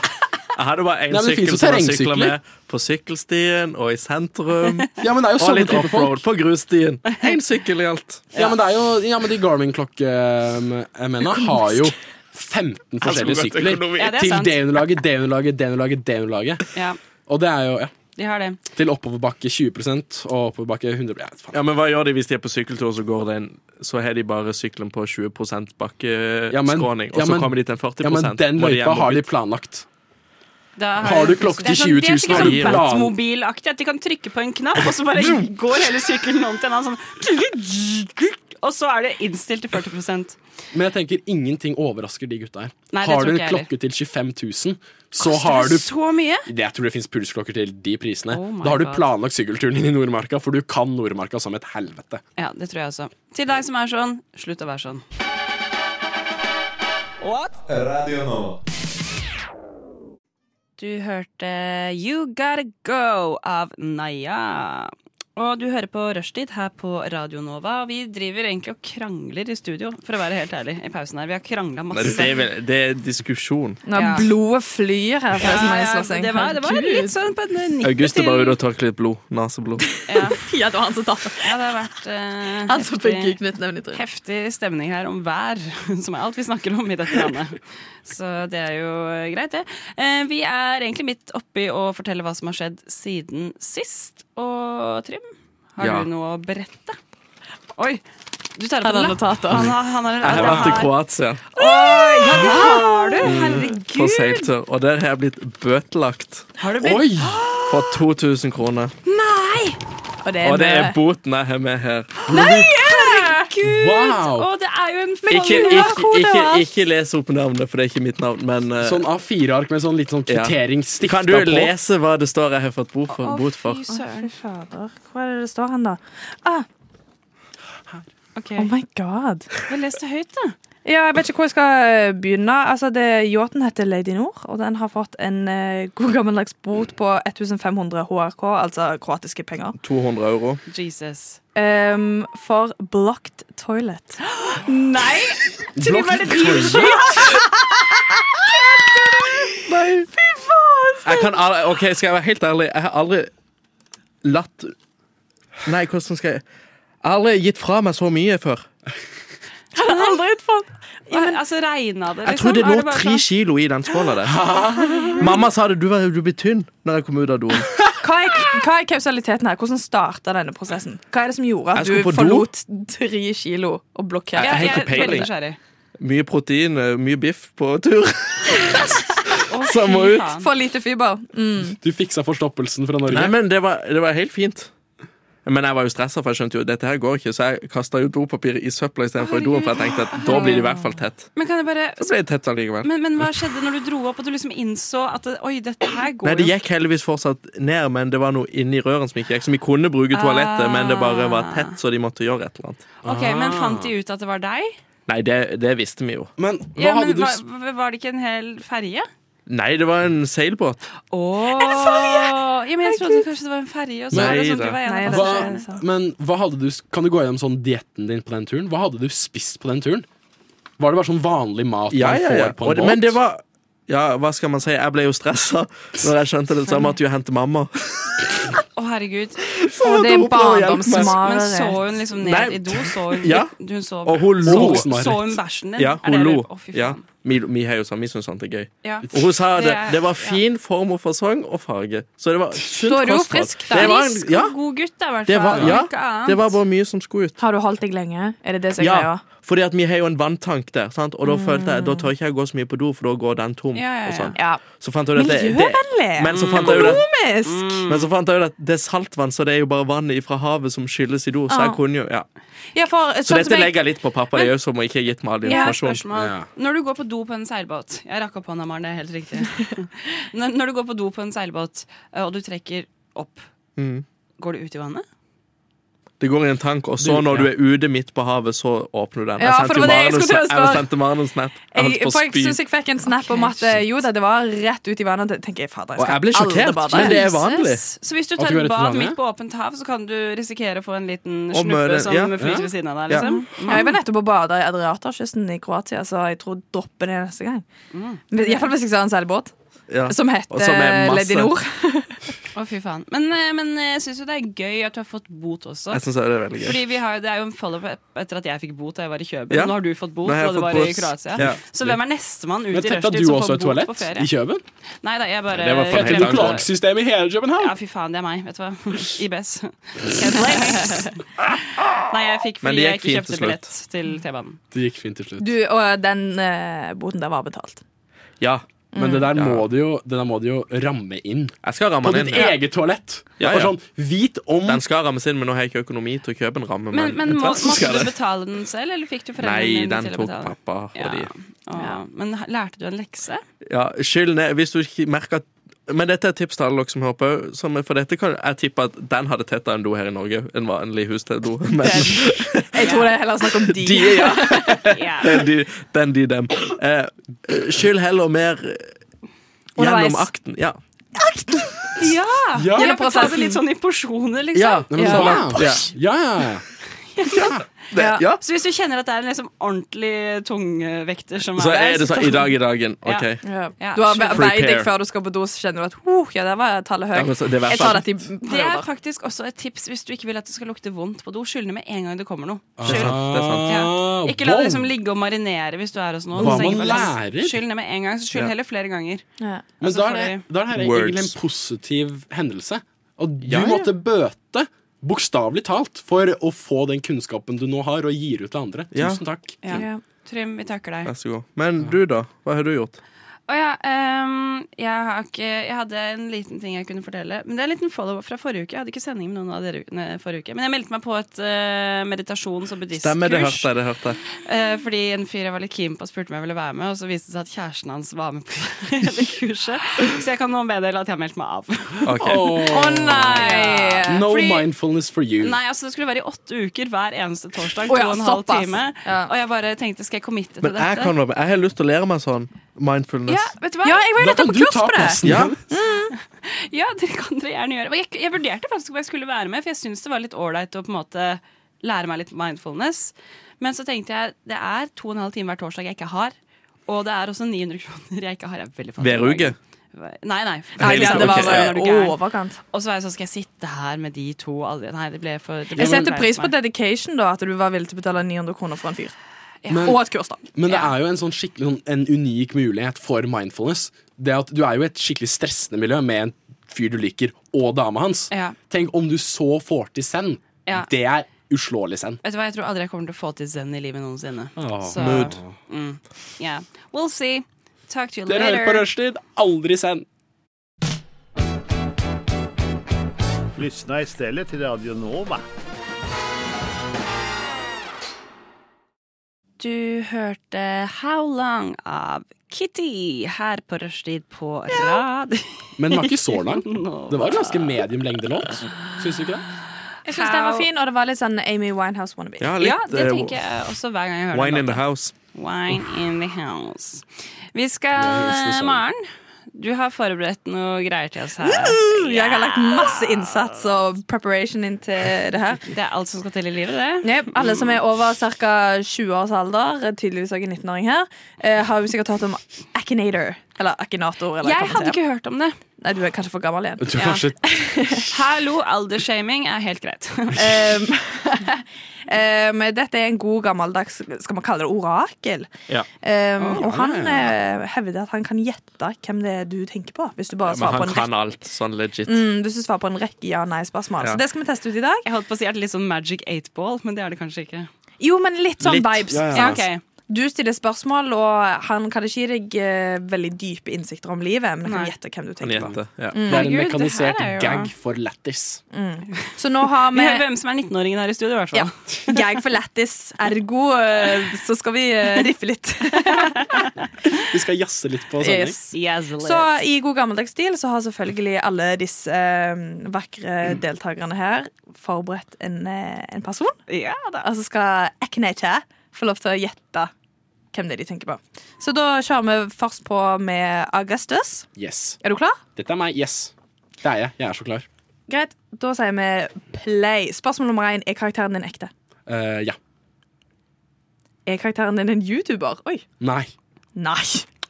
S8: Jeg hadde bare én
S6: Nei, men det
S8: sykkel
S6: finnes jo
S8: som jeg sykla
S6: terrengsykler.
S8: med på sykkelstien og i
S6: *laughs*
S8: sentrum.
S6: ja, men det er jo
S8: Og
S6: sånne
S8: litt
S6: typer folk.
S8: offroad på
S6: *laughs*
S8: grusstien. Én sykkel i alt.
S6: Ja, men, det er jo, ja, men de Garmin-klokkemennene har jo 15 forskjellige
S8: Altså,
S6: sykler.
S8: økonomi.
S2: Ja, det er
S6: Til
S2: sant.
S6: D-underlaget, D-underlaget, D-underlaget, D-underlaget.
S2: Ja,
S6: Og det er jo ja,
S2: de har det.
S6: til oppoverbakke 20 og oppoverbakke 100 ja, faen.
S8: Ja, men Hva gjør de hvis de er på sykkeltur, så går det en, så har de bare sykkelen på 20
S6: Ja, men-
S8: bakkeskråning, og
S6: ja,
S8: så
S6: men-
S8: kommer de til en 40
S6: ja, men den
S8: må de hjem
S6: løypa
S8: og
S6: har de
S8: bytte.
S6: planlagt.
S2: Da
S6: Har du klokke til 20 000,
S2: Det
S6: har
S2: er
S6: du
S2: ikke sånn
S6: plan?
S2: Batmobil-aktig, at de kan trykke på en knapp, og så bare går hele sykkelen om til en annen
S6: *laughs*
S2: sånn Og så er det innstilt til 40
S6: Men jeg tenker ingenting overrasker de gutta her.
S2: Nei, det
S6: har
S2: tror
S6: du en
S2: ikke jeg
S6: klokke til 25 000, så har du
S2: Så mye!
S6: Det- Jeg tror det fins pulsklokker til de prisene.
S2: Oh my
S6: da har du
S2: God.
S6: planlagt sykkelturen din i Nordmarka, for du kan Nordmarka som et helvete.
S2: Ja, det tror jeg også. Til deg som er sånn, slutt å være sånn. Du hørte You Gotta Go av Naya. Og du hører på Rushtid her på Radio Nova. Og vi driver egentlig og krangler i studio, for å være helt ærlig. I pausen her. Vi har krangla
S8: Nei,
S2: masse.
S8: det, er vel, det er diskusjon.
S5: Når
S2: Ja.
S5: blodet flyr her.
S2: Ja,
S5: fra
S2: ja,
S5: smileslåssing.
S2: det, var, det var
S5: Herregud.
S2: litt sånn på en
S8: August er bare ute og tørker litt blod. Naseblod.
S2: Ja,
S5: Ja, det var han som tapte.
S2: ja, det har vært eh,
S5: Han som fikk
S2: heftig-
S5: knyttneven i trynet.
S2: heftig stemning her om vær, *laughs* som er alt vi snakker om i dette landet. Så det er jo eh, greit, det. Eh, Vi er egentlig midt oppi å fortelle hva som har skjedd siden sist. Og Trym, har
S8: Ja.
S2: du noe å berette? Oi! Du tar
S5: Han
S2: opp
S5: har
S2: en lapp.
S5: notater.
S2: Han har, han har,
S8: Jeg har vært i Mm, Kroatia
S2: Oi, ja, det har du! Herregud.
S8: på seiltur, og der har jeg blitt bøtelagt
S2: Har du blitt
S6: Oi!
S8: for 2000 kroner.
S5: Og det
S8: Og det er
S2: eh,
S5: med-
S8: boten jeg har med her.
S2: Herregud!
S6: Wow!
S2: Å, det er jo en
S8: Ikke,
S2: folder av
S8: ikke,
S2: kode,
S8: ikke,
S2: hva?
S8: ikke les opp navnet, for det er ikke mitt navn, men eh,
S6: Sånn A4-ark med sånn litt sånn
S8: Ja.
S6: kvittering stifta
S8: Kan du
S6: på.
S8: lese hva det står jeg har fått bot for?
S2: Å,
S8: Bot for?
S2: Fy søren.
S5: Fy fader. Hva er det det står han, da? Ah,
S2: Ok,
S5: oh my god.
S2: jeg leste høyt, da.
S5: Ja, jeg vet ikke hvor jeg skal eh, begynne. Altså, det, Yachten heter Lady Nord, og den har fått en eh, god gammeldags bot på 1500 HRK, altså kroatiske penger,
S8: 200 euro.
S2: Jesus.
S5: ehm, for blocked toilet. *gasps*
S2: Nei! Trym, er det du
S5: *laughs*
S8: Jeg kan aldri, ok, Skal jeg være helt ærlig? Jeg har aldri latt Nei, hvordan skal jeg Jeg har aldri gitt fra meg så mye før.
S2: Ja, men, altså, regna det, liksom?
S8: Jeg tror det
S2: Er
S8: lå
S2: bare
S8: tre
S2: sånn-
S8: kilo i den skåla
S2: *laughs*
S8: der. Mamma sa det, du, var, du blir tynn når jeg kom ut av doen.
S5: Hva er, hva er kausaliteten her? Hvordan starta denne prosessen? Hva er det som gjorde at
S8: Jeg
S5: du
S8: skulle på do.
S5: forlot tre kilo og blokkerte?
S2: Ja,
S8: Jeg har
S2: jeg
S8: ikke
S2: er veldig
S8: peiling.
S2: nysgjerrig.
S8: Mye protein, eh, mye biff på
S2: *laughs*
S8: tur. Så jeg må ut.
S2: Faen.
S5: For lite fiber. Mm.
S6: Du fiksa forstoppelsen fra Norge.
S8: Nei, men det var, det var helt fint. Men jeg var jo stressa, for jeg skjønte jo dette her går ikke, så jeg kasta jo dopapiret i søpla istedenfor i doen, for jeg tenkte at da blir det i hvert fall tett.
S2: Men kan jeg bare
S8: Så ble det tett allikevel.
S2: men, men hva skjedde når du dro opp og du liksom innså at det, oi, dette her går
S8: Nei, det
S2: jo
S8: gikk heldigvis fortsatt ned, men det var noe inni røren som ikke gikk. Så vi kunne bruke toalettet, men det bare var tett, så de måtte gjøre et eller annet.
S2: Ok, Men
S5: Ah.
S2: fant de ut at det var deg?
S8: Nei, det, det visste vi jo.
S6: Men hva
S2: Ja, men
S6: hadde du
S2: var,
S6: s-
S2: var det ikke en hel ferje?
S8: Nei, det var en seilbåt.
S2: Oh. En ferje! Ja, men jeg trodde kanskje det var en ferje. Og så
S6: Nei,
S2: var det sånn,
S8: da.
S2: du var
S5: Nei,
S2: en av
S5: det-
S6: hva,
S2: ferjene.
S6: men hva hadde du, s- kan du gå gjennom sånn dietten din på den turen? Hva hadde du spist på den turen? Var det bare sånn vanlig mat man får på
S8: Og det-
S6: en båt?
S8: Men det var Ja, hva skal man si? Jeg ble jo stressa når jeg skjønte det, så jeg måtte jo hente mamma.
S2: Å, herregud.
S5: Og det er
S8: dopa og hjelp meg.
S5: barndomsmareritt.
S2: Men så hun liksom ned
S8: Nei.
S2: i do? Så hun,
S8: Ja.
S2: hun så,
S8: Og hun lo.
S2: så, så hun bæsjen din?
S8: Ja,
S2: Er det
S8: hun
S2: det-
S8: lo.
S2: Å, fy
S8: Ja.
S2: faen.
S8: Vi, vi har jo sånn, vi syns sånt er gøy.
S2: Ja.
S8: Og hun sa
S2: Det
S8: det.
S2: er-
S8: Det var fin form og fasong og farge. Så det var sunt
S5: Da er du jo
S8: kosthold.
S5: frisk, da.
S8: Det var,
S2: Frisk
S8: en- ja,
S2: og god gutt, da, i hvert
S8: det
S2: fall.
S8: var, ja,
S2: Ikke annet.
S8: det var bare mye som skulle ut.
S5: Har du holdt deg lenge? Er det det som er
S8: Ja,
S5: greia?
S8: fordi at vi har jo en vanntank der, sant? og da følte jeg, da tør ikke jeg gå så mye på do, for da går den tom.
S2: Mm. Ja, ja, ja.
S8: Og sånn.
S5: Ja.
S8: Så fant jeg ut at det, det,
S5: Miljøvennlig!
S8: men så fant jeg ut at Mm.
S5: Komisk!
S8: Men så fant jeg ut at det er saltvann, så det er jo bare vannet fra havet som skylles i do. Så jeg
S5: Ah.
S8: kunne jo, ja
S5: Ja, for,
S8: Så
S5: sånn
S8: dette
S5: som jeg-
S8: legger jeg litt på pappa, det er jo som å ikke ha gitt meg all
S2: Jeg har et
S8: informasjon.
S2: spørsmål.
S6: Ja.
S2: Når du går på do på en seilbåt Jeg rakk opp hånda, Maren. Det er helt
S8: *laughs*
S2: riktig. når, når du går på do på en seilbåt, eh, og du trekker opp,
S8: Mm.
S2: går du ut i vannet?
S8: Det går i en tank, og så
S6: Det-
S8: når
S6: ja.
S8: du er ute midt på havet, så åpner du den.
S5: Ja,
S8: jeg
S5: for det var
S8: sendte jo
S5: det jeg
S8: Maren en
S5: skulle til å
S8: snap- jeg
S5: spørre.
S8: sendte Maren en snap. Jeg holdt
S5: Jeg,
S8: på
S5: for
S8: å
S5: jeg syns
S8: spy.
S5: jeg fikk en snap om at eh, jo da, det var rett ut i vannet. og tenker jeg, fader,
S8: Og
S5: skal
S8: jeg ble
S5: aldri
S8: sjokkert,
S5: bade.
S8: men det er vanlig.
S2: Jesus. Så hvis du
S6: At du
S2: tar
S6: går
S2: et
S6: rett til
S2: bad
S6: vannet?
S2: midt på åpent hav, så kan du risikere å få en liten
S8: Og møre-
S2: snuppe som
S8: ja.
S2: flyter ved siden av deg. Liksom.
S5: Ja, jeg var nettopp og bada i Adriaterkysten i Kroatia, så jeg tror dropper det neste gang.
S2: Mm.
S5: Iallfall hvis jeg tar en seilbåt
S8: Ja.
S5: som
S8: Og som er
S5: heter
S8: masse-
S5: Lady Nord.
S2: Å, fy faen. Men, eh, men jeg syns jo det er gøy at du har fått bot også.
S8: Jeg syns det er veldig gøy.
S2: Fordi vi har, jo- Det er jo en follow-up etter at jeg fikk bot da jeg var i Kjøben.
S8: Ja.
S2: Nå har du fått bot
S8: Nå har jeg
S2: da du
S8: fått
S2: var i
S8: bot.
S2: Kroatia.
S8: Ja.
S2: Så hvem er nestemann ut i
S6: Men tetta
S2: rushtid
S6: du
S2: som
S6: også
S2: får
S6: et
S2: bot på
S6: toalett
S2: ferie?
S6: i Kjøben?
S2: Nei da, jeg bare
S8: Det var for
S2: jeg
S8: en helt annen
S6: Dette
S2: glemte det.
S6: kloakksystemet i hele
S2: Ja,
S6: København!
S2: fy faen, det er meg. Vet du *laughs* hva. IBS. Can't blame. Nei, jeg fikk
S8: Men det
S2: fordi jeg ikke
S8: gikk fint
S2: kjøpte
S8: til slutt.
S2: billett til T-banen.
S6: Det gikk fint til slutt.
S5: Du, og den eh, boten der var betalt.
S8: Ja,
S2: Mm.
S6: Men det der, må du jo, det der må du jo ramme inn.
S8: jeg skal ramme
S6: På
S8: den
S6: ditt
S8: inn. Ja.
S6: eget toalett.
S8: Ja,
S6: Bare
S8: ja.
S6: sånn, Vit om
S8: Den skal rammes inn, men nå har jeg ikke økonomi til å kjøpe en ramme.
S2: Men, men må,
S8: tvert så
S2: måtte
S8: skal
S2: du
S8: det.
S2: betale den selv, eller fikk du foreldrene
S8: Nei,
S2: dine
S8: den
S2: til å
S8: tok
S2: betale?
S8: pappa og de.
S2: Ja. Å, Men lærte du en lekse?
S8: Ja, skyld ned hvis du ikke merker at men dette er et tips til alle dere som hører på. som- For dette kan jeg tippe at den hadde tettere enn do her i Norge. En vanlig
S5: *laughs*
S8: husdo. Men
S5: Jeg tror det er heller
S8: *laughs*
S5: snakk om de.
S8: de, ja.
S2: Ja.
S8: Den de, den de dem. Eh, skyld heller mer gjennom
S5: Underveis.
S8: akten. Ja.
S2: Ja!
S6: Ja.
S2: Jeg betalte det litt sånn i porsjoner,
S8: Ja,
S2: liksom.
S6: Nei, men
S8: Ja.
S6: sånn, ja.
S8: Ja.
S6: Ja. ja.
S8: Det,
S5: Ja.
S8: ja.
S2: Så hvis du kjenner at det er en liksom ordentlig tungvekter som
S8: Så
S2: er der
S8: er det sånn i dag i dagen. OK.
S2: Ja.
S5: Ja.
S2: Ja,
S5: Du har ve-
S8: Prepare.
S5: veid deg før du skal på do, så kjenner du at huh, ja, der var tallet
S8: Ja, men
S5: høyt.
S8: så det er i hvert
S5: Jeg tar
S8: fall-
S5: dette i
S2: Det er
S5: perioder.
S2: faktisk også et tips hvis du ikke vil at det skal lukte vondt på do. Skyld ned med en gang det kommer noe.
S8: Det er
S2: Skyld.
S8: sant. Det er sant.
S6: Ah,
S2: Ikke la
S6: wow.
S2: det liksom ligge og marinere hvis du er hos noen.
S6: Hva
S2: Så tenker
S6: man
S2: jeg bare,
S6: lærer.
S2: Skyld ned med en gang, så skyld
S8: Ja.
S2: heller flere ganger.
S5: Ja.
S6: Men
S2: Altså,
S6: da er,
S2: fordi-
S6: det, da er det
S8: Words.
S6: egentlig en positiv hendelse. Og du
S8: Ja, ja.
S6: måtte bøte, bokstavelig talt, for å få den kunnskapen du nå har, og gir ut til andre.
S8: Ja.
S6: Tusen takk.
S2: Ja.
S5: Ja.
S2: Trym, vi takker deg.
S8: Vær så god. Men du, da? Hva har du gjort?
S2: Å ja, ehm, jeg, har ikke, jeg hadde en liten ting jeg kunne fortelle. Men Det er en liten follow-up fra forrige uke. Jeg hadde ikke sending med noen av dere u- nei, forrige uke. Men jeg meldte meg på et eh, meditasjons- og
S8: Stemmer, det
S2: buddhistkurs.
S8: hørte jeg. det hørte jeg
S2: Eh, fordi en fyr jeg var litt keen på, spurte om jeg ville være med. Og så viste det seg at kjæresten hans var med på *laughs* det kurset. Så jeg kan nå meddele at jeg har meldt meg av.
S8: Ok.
S5: Å nei!
S6: No
S2: Fordi-
S6: mindfulness for you.
S2: Nei, altså Det skulle være i åtte uker hver eneste torsdag.
S5: Å ja,
S2: to og en halv
S5: såpass.
S2: time
S5: Ja.
S2: Og jeg bare tenkte skal jeg committe til
S8: Men jeg
S2: dette?
S8: kan være med. Jeg har lyst til å lære meg sånn mindfulness.
S2: Ja, vet du hva?
S5: Ja, jeg var jo
S6: Da kan
S5: nettopp
S6: du
S5: på kurs
S6: ta
S5: på det.
S6: plassen.
S8: Ja.
S6: din.
S2: Ja, det kan dere gjerne gjøre. Og Jeg, jeg vurderte faktisk om jeg skulle være med, for jeg syns det var litt ålreit å på en måte lære meg litt mindfulness. Men så tenkte jeg det er to og en halv time hver torsdag jeg ikke har. Og det er også 900 kroner jeg ikke har. Jeg er veldig fattig
S8: Hver
S2: i dag.
S8: uke.
S2: Nei, nei.
S5: Nei,
S8: Hele
S5: ja, det
S8: uka,
S5: var
S8: ok.
S5: bare
S2: Er du gæren?
S5: overkant.
S2: Og så var jeg sånn, skal jeg sitte her med de to aldri? Nei, det ble for det ble
S5: Jeg setter
S2: for
S5: pris på
S2: teit for meg.
S5: dedication, da, at du var villig til å betale 900 kroner for en fyr.
S6: Men-
S5: Og et kurs, da.
S6: Men det er jo en sånn skikkelig sånn, en unik mulighet for mindfulness. Det at Du er jo i et skikkelig stressende miljø med en fyr du liker, og dama hans.
S2: Ja.
S6: Tenk om du så får til zen.
S2: Ja.
S6: Det er uslåelig zen.
S2: Vet du hva, jeg tror aldri jeg kommer til å få til zen i livet noensinne.
S6: Åh,
S2: Så,
S8: mood.
S2: Mm, yeah. We'll see. Talk to you
S6: Dere hører på
S2: later.
S6: Rushtid. Aldri zen.
S9: Lyssna istället till Radio Nova.
S2: Du hørte How Long av Kitty her på Rushtid på rad.
S6: Men den var ikke så lang.
S2: *laughs* Nå.
S6: Det var en ganske medium lengde låt. Syns du ikke det?
S5: Jeg syns den var fin, og det var litt sånn Amy Winehouse wannabe.
S8: Ja, litt
S2: Ja, det
S8: eh,
S2: tenker jeg også hver gang jeg hører
S8: Wine
S2: den
S8: in the
S2: låta.
S8: house.
S2: Wine in the house. Vi skal eh,
S6: Det er just det samme.
S2: Maren, du har forberedt noe greier til oss her.
S5: Mm, Jeg har lagt masse innsats og preparation inn til det her.
S2: Det er alt som skal til i livet, det.
S5: Jep, alle som er over ca. 20 års alder, tydeligvis også en 19-åring her, eh, har jo sikkert hørt om Akinator. Eller Akinator. Eller hva
S2: Jeg
S5: man
S2: hadde
S5: sier.
S2: ikke hørt om det.
S5: Nei, du er kanskje for gammel igjen. *laughs*
S6: Jeg tror
S2: Ja.
S6: kanskje
S2: Hallo, aldersshaming er helt greit. *laughs*
S5: *laughs* Um, um, dette er en god gammeldags Skal man kalle det orakel?
S8: Ja.
S5: Um,
S6: Ah,
S5: og han
S6: ja,
S5: eh, hevder at han kan gjette hvem det er du tenker på, hvis du bare
S8: Men
S5: svarer på
S8: han
S5: en
S8: kan
S5: rekke,
S8: alt sånn legit.
S5: mm, hvis du svarer på en rekke ja-nei-spørsmål.
S8: Ja.
S5: Så det skal vi teste ut i dag.
S2: Jeg holdt på å si at det er litt sånn Magic 8-ball, men det er det kanskje ikke.
S5: Jo, men litt sånn
S8: Litt.
S5: vibes.
S6: Ja, ja.
S5: sant?
S2: Ok,
S5: Du stiller spørsmål, og han kan ikke gi deg eh, veldig dype innsikter om livet, men jeg kan
S2: Nei.
S5: gjette hvem du
S4: Han
S5: tenker på.
S4: gjetter. Ja.
S6: Det er en
S2: Herregud, det her
S6: mekanisert
S2: er jo-
S6: gag for lættis.
S5: Så nå har
S2: Vi
S5: vi
S2: hører hvem som er 19-åringen her i studio, i hvert
S5: ja,
S2: fall.
S5: gag for lættis, ergo eh, så skal vi eh, riffe litt.
S6: Vi skal jazze litt på sending.
S5: Yes. Så i god gammeldags stil så har selvfølgelig alle disse eh, vakre deltakerne her forberedt en, eh, en person.
S2: Ja da.
S5: Og så skal Eknete få lov til å gjette hvem det er de tenker på. Så da kjører vi først på med Augustus.
S6: Yes.
S5: Er du klar?
S6: Dette er meg. Yes. Det er jeg. Jeg er så klar.
S5: Greit. Da sier vi play. Spørsmål nummer én er karakteren din ekte.
S6: Eh, ja.
S5: Er karakteren din en YouTuber? Oi.
S6: Nei.
S5: Nei.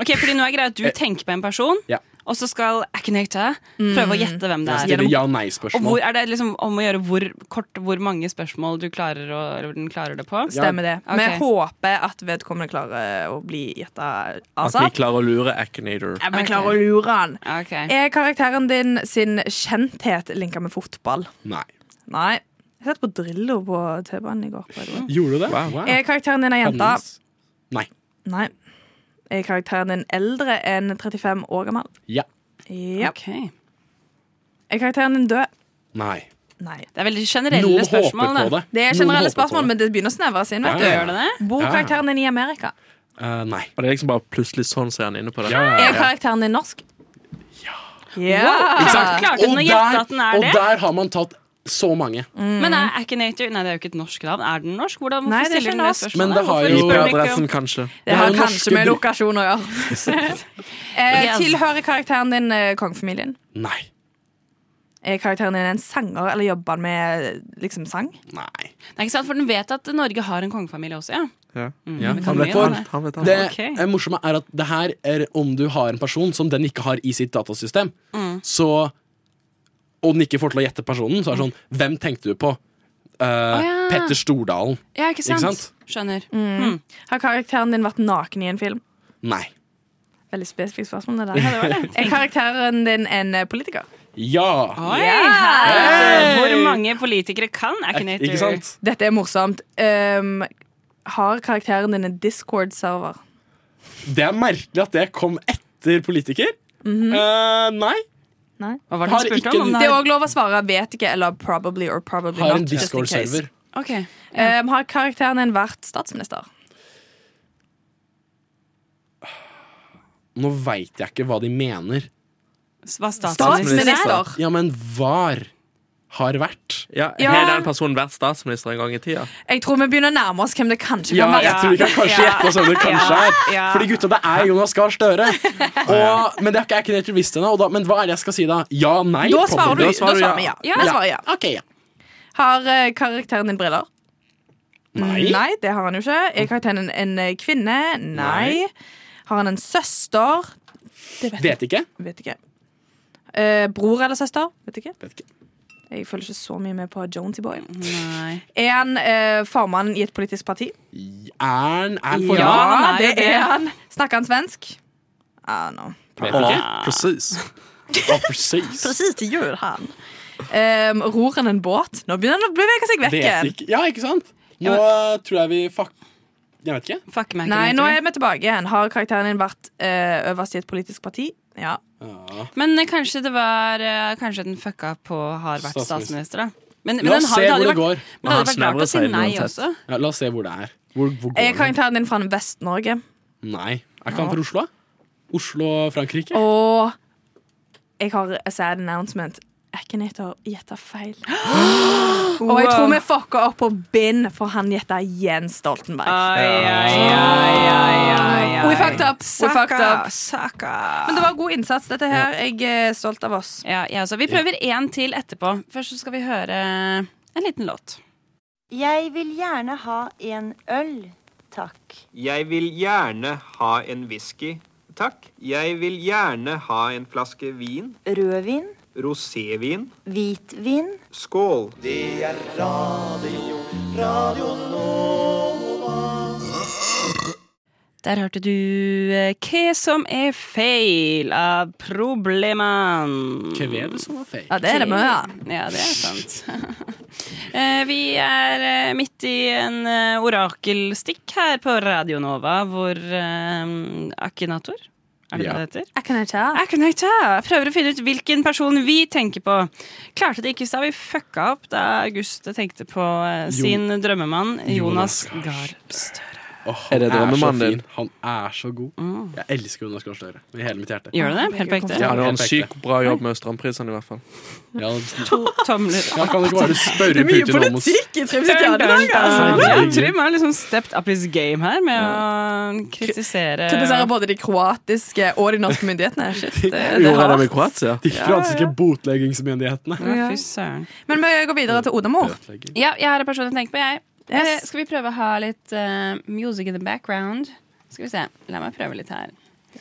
S2: Ok, fordi nå er greia at du tenker på en person,
S6: Eh, Ja.
S2: og så skal Akinator prøve
S5: Mm.
S2: å gjette hvem det
S6: Jeg
S2: er.
S6: stiller ja- og
S2: Og hvor,
S6: nei-spørsmål.
S2: er det liksom om å gjøre hvor kort hvor mange spørsmål du klarer å, eller den klarer det på?
S5: Stemmer det.
S2: Ok.
S5: Vi håper at vedkommende klarer å bli gjetta
S4: At vi
S5: asap.
S4: klarer å lure Akinator.
S5: Altså- Ja, Vi klarer å lure han.
S2: Ok.
S5: Er karakteren din sin kjenthet linka med fotball?
S6: Nei.
S5: Nei. Jeg satt på Drillo på T-banen i går. by the way.
S6: Gjorde du det?
S4: Wow.
S5: Er karakteren din ei jente?
S6: Spennende. Nei.
S5: Nei. Er karakteren din eldre enn 35 år gammel?
S6: Ja.
S5: Ja.
S2: Ok.
S5: Er karakteren din død?
S6: Nei.
S5: Nei.
S2: Det er veldig generelle
S6: Noen
S2: spørsmål.
S6: håper på
S2: da.
S6: det.
S5: Det er
S6: Noen
S5: generelle
S6: håper på
S5: spørsmål,
S6: det.
S5: men det begynner å snevres inn. vet
S6: Ja,
S5: du.
S6: ja.
S2: Gjør det det?
S5: Bor
S6: Ja.
S5: karakteren din i Amerika?
S6: Eh, nei.
S4: Og det er liksom bare plutselig sånn ser han inne på det.
S6: Ja, ja, ja.
S5: Er karakteren din norsk? Ja.
S2: Wow. Ah, Klarte den å gjette at den er
S6: og
S2: det? Mm.
S6: der har man tatt så mange.
S2: Men er Akinator Nei, det er jo ikke et norsk navn. Er den norsk? Hvordan,
S5: Mm. Nei,
S2: hvorfor
S5: det er
S2: stiller
S5: ikke
S2: den det
S5: norsk.
S2: spørsmålet?
S6: Men det har
S2: Hvorfor
S6: jo-
S2: spør den ikke om-
S4: IP-adressen, kanskje.
S5: Det
S6: Det er
S5: har
S6: jo norske
S5: kanskje med
S6: bru-
S5: lokasjon å gjøre.
S6: *laughs*
S5: eh,
S2: Yes.
S5: Tilhører karakteren din eh, kongefamilien?
S6: Nei.
S5: Er karakteren din en sanger, eller jobber han med eh, liksom sang?
S6: Nei.
S2: Det er ikke sant, for den vet at Norge har en kongefamilie også, ja.
S4: Ja.
S2: vi kan
S4: Han vet
S2: mye om
S4: alt.
S2: det.
S4: Han vet alt.
S6: Det
S2: Ok.
S6: eh, morsomme er at det her er om du har en person som den ikke har i sitt datasystem, så Og den ikke får til å gjette personen, så er det sånn Hvem tenkte du på? Eh,
S2: ja.
S6: Petter Stordalen.
S2: Ja, ikke
S6: sant?
S2: sant?
S6: Ikke sant?
S2: Skjønner.
S6: Mm.
S5: Har karakteren din vært naken i en film?
S6: Nei.
S5: Veldig spesifikt spørsmål. Det der. Ja, det var *laughs* det. Er karakteren din en eh, politiker?
S6: Ja!
S2: Oi,
S5: Ja.
S2: herregud. Hvor mange politikere kan Akinator?
S6: Ikke sant?
S5: Dette er morsomt. Ehm, har karakteren din en Discord-server?
S6: Det er merkelig at det kom etter politiker. Eh, nei.
S2: Hva var det
S6: Har
S2: han spurte
S6: ikke
S2: om? om?
S6: den-
S5: Det er
S2: det
S5: òg lov å svare 'vet ikke' eller 'probably' or 'probably
S6: Har en
S5: not'. just in case.
S6: Discord-server.
S2: har- Ok.
S5: Ehm, har karakteren din vært statsminister?
S6: Nå veit jeg ikke hva de mener.
S2: S- Var statsminister?
S6: Ja, men var har vært.
S4: Ja,
S5: Ja.
S4: Har den personen vært statsminister en gang i tida?
S5: Jeg tror vi begynner å nærme oss hvem det kanskje
S6: Ja,
S5: kan være.
S6: jeg tror vi kan kanskje
S2: Ja.
S6: gjette oss hvem det kanskje er.
S2: Ja.
S6: Fordi gutta, det er Jonas Gahr Støre. Og, men det er ikke, jeg er ikke helt bevisst ennå. og da- Men hva er det jeg skal si da? Ja, nei?
S5: Da
S6: probably.
S5: svarer du.
S4: Da
S5: Da
S4: svarer du
S5: svarer vi ja.
S4: ja.
S5: Da svarer jeg ja.
S6: Ok, ja.
S5: Har eh, karakteren din briller?
S6: Nei.
S5: det har han jo ikke. Er karakteren en, en eh, kvinne? Nei.
S6: Nei.
S5: Har han en søster? Det vet jeg
S6: Vet ikke.
S5: vet ikke. Eh, bror eller søster? Vet ikke.
S6: Vet ikke.
S5: Jeg følger ikke så mye med på Jonesy Boy.
S2: Nei.
S5: Er han eh, formann i et politisk parti?
S6: Ern Ern for
S2: Ja.
S6: ja.
S2: han er jo det.
S5: han. Snakker han svensk? Ah, no.
S6: Vet ikke.
S4: presis.
S6: Ja, presis.
S5: *laughs* Precis, det gjør han. Um, ror han en båt? Nå begynner han å bevege seg vekk
S6: Vet
S5: igjen.
S6: ikke. Ja, ikke sant? Nå eh, tror jeg vi fuck... Jeg vet ikke.
S2: Fuck meg,
S5: Nei,
S2: Akinator.
S5: nå er vi tilbake igjen. Har karakteren din vært eh, øverst i et politisk parti? Ja.
S6: Ja.
S2: Men eh, kanskje det var eh, Kanskje den fucka på har vært statsminister,
S6: Statsminister.
S2: da. Men, men
S6: La
S2: den
S6: oss
S2: har,
S6: se
S2: det hadde jo
S6: hvor
S2: vært,
S6: det går.
S2: men det hadde
S4: Han
S2: vært rart
S4: snevrer
S2: å si
S4: seg inn
S2: nei
S6: altså.
S4: uansett.
S2: også.
S6: Ja, la oss se hvor det er. Hvor, hvor går
S5: Er
S6: det?
S5: karakteren din fra den Vest-Norge?
S6: Nei. Er ikke han fra Oslo? da? Oslo og Frankrike?
S5: Og jeg har a sad announcement. Akinator gjetta feil. *gasps* Og jeg tror vi fucka opp på bind, for han gjetta Jens Stoltenberg.
S2: Ai, ai, ai, ai, ai, ai.
S5: We fucked up. We fucked up.
S2: Saka.
S5: Men det var god innsats, dette her. Jeg er stolt av oss.
S2: Ja, jeg også. Vi prøver én til etterpå. Først så skal vi høre en liten låt.
S10: Jeg vil gjerne ha en øl, takk.
S11: Jeg vil gjerne ha en whisky, takk. Jeg vil gjerne ha en flaske vin,
S10: Rødvin,
S11: rosévin.
S10: hvitvin.
S11: Skål!
S2: Der hørte du eh, Hva som er feil av Probleman.
S6: Hva er det som var feil?
S5: Ja, det er det mye av.
S2: Ja, det er sant. *laughs* Eh, Vi er eh, midt i en eh, orakelstikk her på Radio Nova, hvor eh, Akinator Er det det
S6: Ja.
S2: det heter?
S5: Jeg kan ikke.
S2: Jeg kunne ikke. Jeg prøver å finne ut hvilken person vi tenker på. Klarte det ikke, så har vi fucka opp da Auguste tenkte på eh, sin drømmemann Jonas
S6: Jonas
S2: Gahr Støre.
S6: Åh,
S4: Er det
S6: han så
S4: drømmemannen din?
S6: fin. Han er så god. Jeg elsker Jonas Gahr Støre med hele mitt hjerte.
S2: Gjør du det? Helt på ekte?
S4: Ja, han gjør en
S6: Helt
S4: sykt bra jobb med strømprisene, i hvert fall.
S6: Ja,
S2: To tomler.
S6: han kan ikke bare spørre Putin om å
S5: i Trym
S2: Ja,
S6: altså.
S2: Trym har liksom stepped up his game her med å kritisere
S5: Kritiserer både de kroatiske og de norske myndighetene. Shit,
S2: *laughs*
S5: det, det
S4: Gjorde
S5: er
S4: jeg det
S5: hardt.
S4: med Kroatia?
S6: De franske botleggingsmyndighetene.
S2: Ja, Fy søren.
S5: Men vi går videre til Odamor.
S6: Botlegging.
S2: Ja, jeg har en person jeg tenker på, jeg.
S5: Yes.
S2: Eh, Skal vi prøve å ha litt eh, music in the background? Skal vi se. La meg prøve litt her.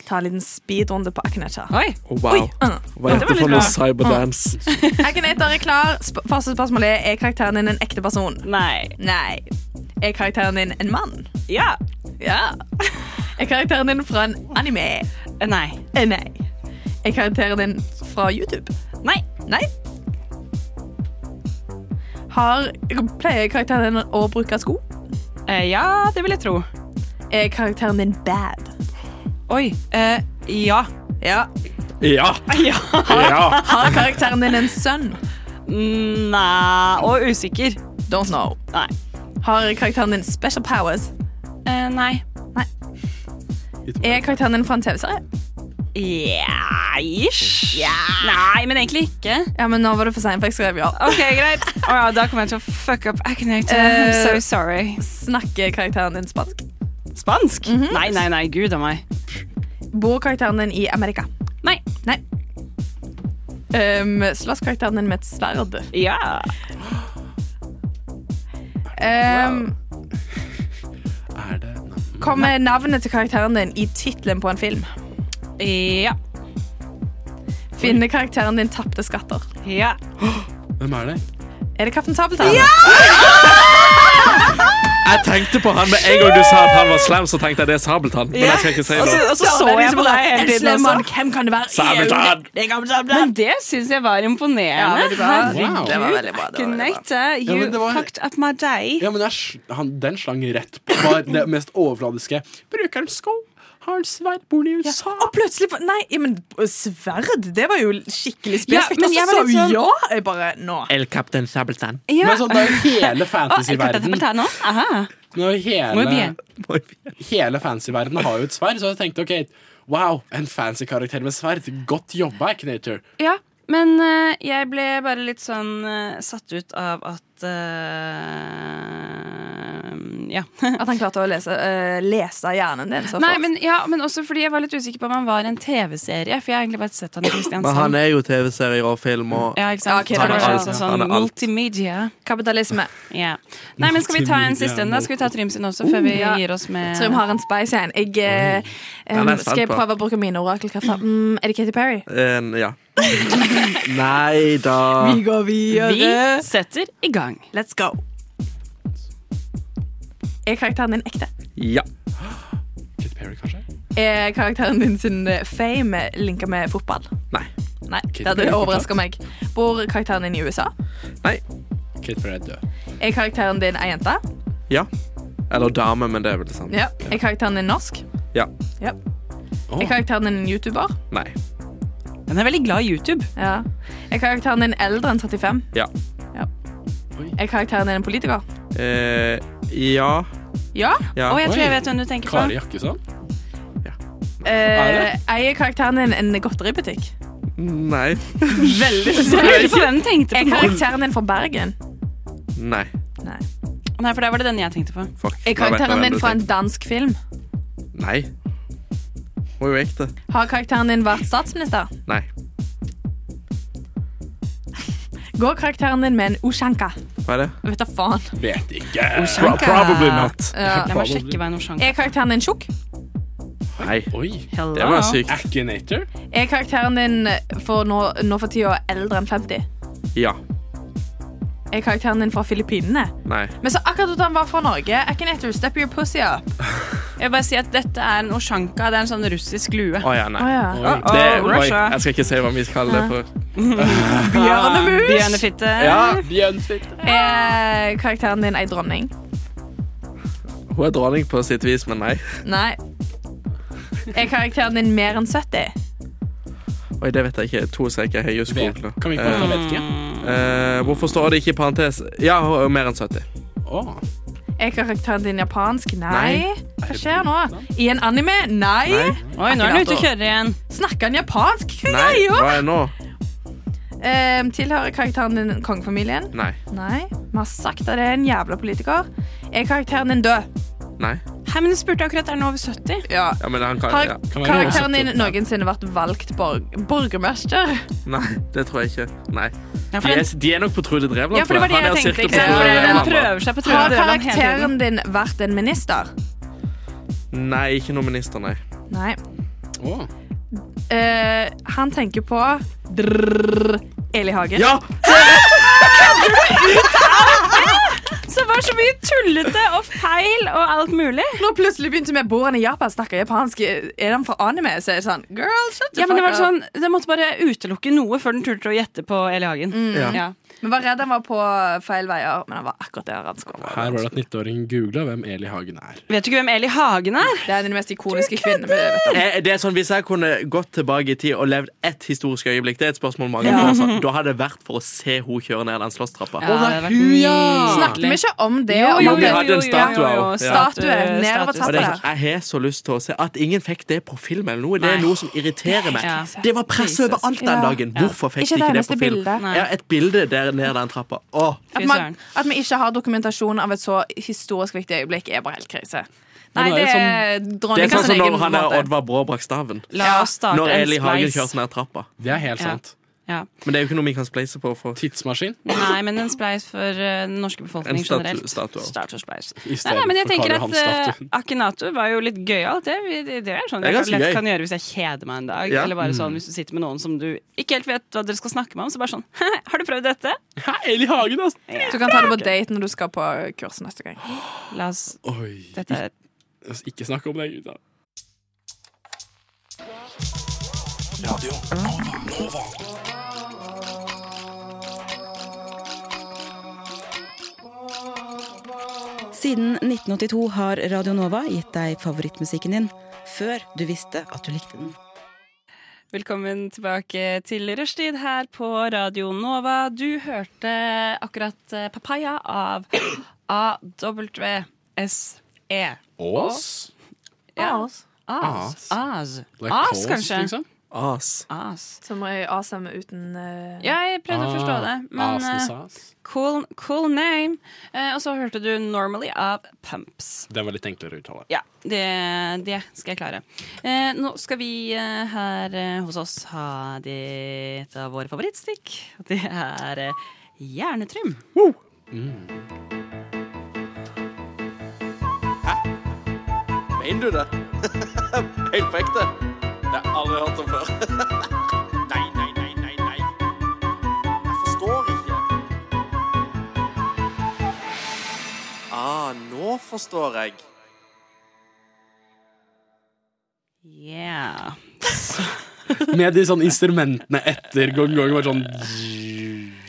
S5: Ta en liten speedrunde på Akinator.
S2: Oi!
S4: Oh, wow. Hva
S2: Det
S4: heter
S2: var
S4: det for
S2: litt
S4: noe
S2: bra.
S4: cyberdance?
S5: Akinator er klar. Sp første spørsmål er er karakteren din en ekte person.
S2: Nei.
S5: Nei. Er karakteren din en mann?
S2: Ja.
S5: Ja. Er karakteren din fra en anime?
S2: Eh, Nei.
S5: Eh, Nei. Er karakteren din fra YouTube?
S2: Nei.
S5: Nei. Har, pleier karakteren din å bruke sko?
S2: Eh, ja, det vil jeg tro.
S5: Er karakteren din bad?
S2: Oi. eh, ja.
S5: Ja.
S6: Ja!
S2: *laughs* Ja.
S6: ja.
S5: Har karakteren din en sønn?
S2: Nei Og usikker.
S5: Don't know.
S2: Nei.
S5: Har karakteren din special powers?
S2: Eh, nei.
S5: Er karakteren din fra en TV-serie?
S2: Ja, ish. Nei, men egentlig ikke.
S5: Ja, men nå var det for sent, for jeg skrev ja.
S2: Ok, greit. *laughs* Å ja, da kommer jeg til å fuck up Akinator. I'm
S5: Eh,
S2: so sorry. Mhm.
S5: Snakker karakteren din spansk?
S2: Spansk? Nei, nei, nei. Gud a meg.
S5: Bor karakteren din i Amerika?
S2: Nei.
S5: Nei. Um, slåss karakteren din med et sverd?
S2: Ja.
S5: Um,
S6: Er det Nei.
S5: Kommer navnet til karakteren din i tittelen på en film?
S2: Ja.
S5: Finner karakteren din tapte skatter?
S2: Ja.
S6: Hvem er det?
S5: Er det Kaptein Sabeltann?
S4: Jeg tenkte på han med en gang du sa at han var slem, så tenkte jeg det er Sabeltann. Men jeg skal ikke si
S2: Og så,
S4: det.
S2: og så så jeg på deg hele tiden også.
S5: Hvem kan det være?
S4: Sabeltann!
S2: Men det syns jeg var imponerende.
S5: Ja, vet du hva?
S6: Wow.
S5: Det var veldig bra. Det var veldig bra.
S2: Akinator,
S6: Ja,
S2: you
S6: men det var-
S2: fucked up my day.
S6: Ja, men jeg, sl- han, Den slang rett på. Var det mest overfladiske. Bruker en sko. Har en sverd. Bor i USA.
S5: Og plutselig fa- Nei, men sverd, det var jo skikkelig
S2: Ja,
S5: spesifikt.
S2: men
S5: Og
S2: jeg
S5: så
S2: var
S5: sa
S2: litt
S5: hun
S2: sånn-
S5: ja! Jeg bare Nå.
S4: El Captain Sabeltann.
S2: Ja.
S6: Men sånn, det er jo hele fantasyverdenen.
S2: Å, Aha.
S6: Det er jo
S2: Muy bien.
S6: hele, hele fantasyverdenen har jo et sverd, så jeg tenkte OK, wow, en fancy karakter med sverd. Godt jobba, Knator.
S2: Ja, men eh, jeg ble bare litt sånn eh, satt ut av at eh, Ja.
S5: At han klarte å lese, eh, lese hjernen din så fort.
S2: Nei, men, ja, men også fordi jeg var litt usikker på om han var en TV-serie. For jeg har egentlig bare sett han i
S4: Men han
S2: Kristiansand.
S4: er jo TV-serier og film og
S2: Ja, ikke
S5: Ja,
S2: sant?
S5: ok,
S2: han
S5: da
S2: er
S5: skjønner
S2: altså
S4: jeg.
S2: sånn
S4: Han er alt.
S2: multimedia.
S5: Kapitalisme.
S2: Ja. Nei, men Skal vi ta en siste en? da? Skal vi ta Trym sin også, før vi
S5: Ja.
S2: gir oss med
S5: Trym har en spice igjen. Jeg, eh,
S4: den er
S5: em,
S4: jeg
S5: skal jeg
S4: spent på.
S5: prøve å bruke mine orakelkrefter? Mm, er det Katy Perry?
S4: en, Ja. *laughs* Nei da.
S5: går
S2: Vi setter i gang.
S5: Let's go. Er karakteren din ekte?
S4: Ja.
S6: Katy Perry, kanskje?
S5: Er karakteren din sin eh, fame linka med fotball?
S4: Nei.
S5: Nei,
S6: Katy
S5: det hadde
S6: Perry,
S5: overraska meg. Bor karakteren din i USA?
S6: Katy Perry er død.
S5: Er karakteren din ei jente?
S4: Ja. Eller dame, men det er vel det samme.
S5: Ja. Er karakteren din norsk?
S4: Ja.
S5: ja.
S6: Åh.
S5: Er karakteren din en YouTuber?
S4: Nei.
S2: Den er veldig glad i YouTube.
S5: Ja. Er karakteren din eldre enn 35?
S4: Ja.
S5: Ja.
S6: Oi.
S5: Er karakteren din en politiker?
S4: Eh, ja.
S5: Ja.
S4: ja.
S2: Og jeg tror jeg
S6: Oi.
S2: vet hvem du tenker på.
S6: Kari Jakkesson?
S5: Eh,
S6: det?
S5: eier karakteren din en godteributikk?
S4: Nei.
S8: *laughs*
S5: Veldig
S2: Jeg lurer på hvem du tenkte
S5: Er
S2: på.
S5: karakteren din fra Bergen?
S4: Nei.
S5: Nei.
S2: Nei, for der var det den jeg tenkte på.
S4: Fuck.
S5: Er
S4: Da vet jeg
S5: karakteren
S4: hvem
S5: din
S4: du
S5: fra en
S4: tenker.
S5: dansk film?
S4: Nei. Hun er jo ekte.
S5: Har karakteren din vært statsminister?
S4: Nei.
S5: Går karakteren din med en Ushanka?
S4: Hva er det?
S5: Vet da faen.
S6: Vet ikke.
S2: Oshanka.
S6: probably not.
S5: Ja.
S2: Jeg må sjekke hva en Oshanka
S5: Er karakteren din tjukk?
S4: Nei.
S6: Oi.
S4: Det var sykt.
S6: Akinator?
S5: Er karakteren din for nå, nå for tida eldre enn 50?
S4: Ja.
S5: Er karakteren din fra Filippinene?
S4: Nei.
S5: Men så akkurat at han var fra Norge. Akinator, step your pussy up.
S2: Jeg vil bare si at dette er en osjanka. Det er en sånn russisk lue.
S8: Å ja, nei.
S5: Å ja.
S8: Oi.
S2: Å, å,
S8: Det, oi,
S2: Russia.
S8: jeg skal ikke si hva vi kaller det for.
S5: Bjørnemus!
S2: Bjørnefitte.
S8: Ja, Bjørnfitte.
S5: Er karakteren din ei dronning?
S8: Hun er dronning på sitt vis, men nei.
S5: Nei. Er karakteren din mer enn 70?
S8: Oi, det vet jeg ikke. To streker høye skog nå.
S6: Kan vi ikke bare ta vet ikke?
S8: Eh, hvorfor står det ikke i parentes Ja, hun er mer enn 70.
S6: Å.
S5: Er karakteren din japansk? Nei.
S8: Nei.
S5: Hva skjer nå? I en anime? Nei.
S8: Nei.
S2: Oi, nå er den ute og kjører igjen.
S5: Snakker han japansk? Hva
S8: Nei,
S5: greier
S8: hva er det nå?
S5: Eh, tilhører karakteren din kongefamilien?
S8: Nei.
S5: Nei. Vi har sagt at det er en jævla politiker. Er karakteren din død?
S8: Nei.
S2: Hei, men du spurte akkurat er den over 70.
S5: Ja.
S8: Ja, men han kan
S5: Har
S8: ja.
S6: Kan være
S5: karakteren
S6: noe
S5: din noensinne vært valgt borg borgermester?
S8: Nei, det tror jeg ikke. Nei.
S2: Ja, for
S8: De er,
S2: den,
S8: de er nok på Trude Drevland.
S5: Ja, for det var det
S8: Han er
S5: jeg tenkte,
S8: cirka
S5: ikke
S8: på
S5: sant?
S2: den,
S5: Ja,
S8: Trude
S2: den
S8: Drevland, da.
S2: prøver seg på
S5: Har
S2: trådene hele tiden.
S5: karakteren din vært en minister?
S8: Nei, ikke noen minister, nei.
S5: Nei.
S6: Å.
S5: Eh, han tenker på drrrr, Eli Hagen.
S8: Ja!
S2: Så det var så mye tullete og feil og alt mulig.
S5: Nå plutselig begynte vi å bo i Japan, snakker japansk. Er han fra anime? Så er det sånn Girl, shut the
S2: Ja, men det var
S5: fuck up.
S2: sånn, Den måtte bare utelukke noe før den turte å gjette på Eli Hagen.
S8: Ja.
S2: Ja.
S5: Vi var redd han var på feil veier, men han var akkurat der han skulle være.
S6: Her var det at 19-åringen googla hvem Eli Hagen er.
S2: Vet du ikke hvem Eli Hagen er?
S5: Det er den mest ikoniske kvinnen vi vet om.
S8: Eh, Det er sånn, Hvis jeg kunne gått tilbake i tid og levd ett historisk øyeblikk, det er et spørsmål mange får, sånn, da hadde det vært for å se hun kjøre ned den slåsstrappa.
S2: Ja, det hadde vært
S5: Snakket vi
S2: nydelig.
S5: ikke om det?
S2: Jo,
S5: om
S2: jo,
S5: at
S8: vi
S5: det-
S2: jo,
S8: hadde en
S2: jo, jo,
S8: statue
S2: jo, jo,
S8: av-
S2: jo,
S5: ja.
S2: statue,
S5: Statue, nedover
S2: statue.
S8: Og det er
S5: trappa.
S8: sånn, Jeg har så lyst til å se at ingen fikk det på film. eller noe Det
S2: Nei.
S8: er noe som irriterer meg.
S2: Ja.
S8: Det var presse overalt
S5: Ja.
S8: den dagen. Hvorfor fikk
S5: Ikke
S8: de
S5: det
S8: ikke det på
S5: eneste
S8: film?
S5: bildet.
S2: Nei.
S8: Ja, et bilde der ned den trappa. Åh.
S5: At,
S2: Fy
S5: man,
S2: søren.
S5: at vi ikke har dokumentasjon av et så historisk viktig øyeblikk, er bare helt krise. Nei,
S6: nå er
S5: det
S6: det
S5: er
S8: Det
S5: dronningen
S8: er sånn
S5: sin
S8: som
S5: egen
S8: når han der
S5: måte.
S8: Oddvar Brå brakk staven.
S2: La oss starte
S8: Når
S2: en
S8: Eli Hagen
S2: spleis.
S8: kjørte ned trappa.
S6: Det er helt
S2: Ja.
S6: sant.
S2: Ja.
S8: Men det er jo ikke noe vi kan spleise på. For
S6: Tidsmaskin.
S2: Nei, men en spleis for eh, den norske
S8: en
S2: befolkningen
S8: statu,
S2: generelt.
S8: statue.
S2: Start og spleis.
S6: i
S2: Nei,
S6: stedet
S2: nei, men jeg
S6: for Karl
S2: tenker at eh,
S6: Johan-statuen.
S2: Akinator var jo litt gøyal. Det, det, det er sånn
S8: Det er
S2: jeg
S8: ganske
S2: lett
S8: gøy.
S2: kan gjøre hvis jeg kjeder meg en dag.
S8: Ja.
S2: Eller bare
S6: Mm.
S2: sånn hvis du sitter med noen som du ikke helt vet hva dere skal snakke med om. Så bare sånn *laughs* Har du prøvd dette?
S6: Hæ, Eli Hagen, altså!
S5: Du kan ta det på date når du skal på kurs neste *gasps* gang.
S2: La oss
S6: Oi.
S2: Dette er
S6: Altså, Ikke snakk om det, gutta.
S12: Siden 1982 har Radio Nova gitt deg favorittmusikken din før du visste at du likte den.
S2: Velkommen tilbake til rushtid her på Radio Nova. Du hørte akkurat eh, 'Papaya'
S6: *clears throat*
S2: av AWSE.
S6: Ås?
S2: E. Ja.
S5: As.
S2: As. As,
S6: Like
S2: As
S6: Kås,
S2: kanskje.
S6: Liksom.
S8: As.
S2: As.
S5: Som er awesome uten eh,
S2: Ja, jeg prøvde å
S6: Ah,
S2: forstå det, men
S6: Asen
S2: eh,
S6: sas.
S2: cool, cool name. Eh, og så hørte du 'Normally' av Pumps.
S6: Den var litt enklere å uttale.
S2: Ja, det, det skal jeg klare. Eh, nå skal vi eh, her eh, hos oss ha det, et av våre favorittstikk. Det er eh, hjernetrym.
S8: Mener du det? *laughs* Helt på ekte? Det har jeg aldri hørt om før. *laughs* nei, nei, nei, nei, nei. Jeg forstår ikke. Ah, nå forstår jeg.
S2: Yeah.
S6: Med de sånne instrumentene etter gang gang var sånn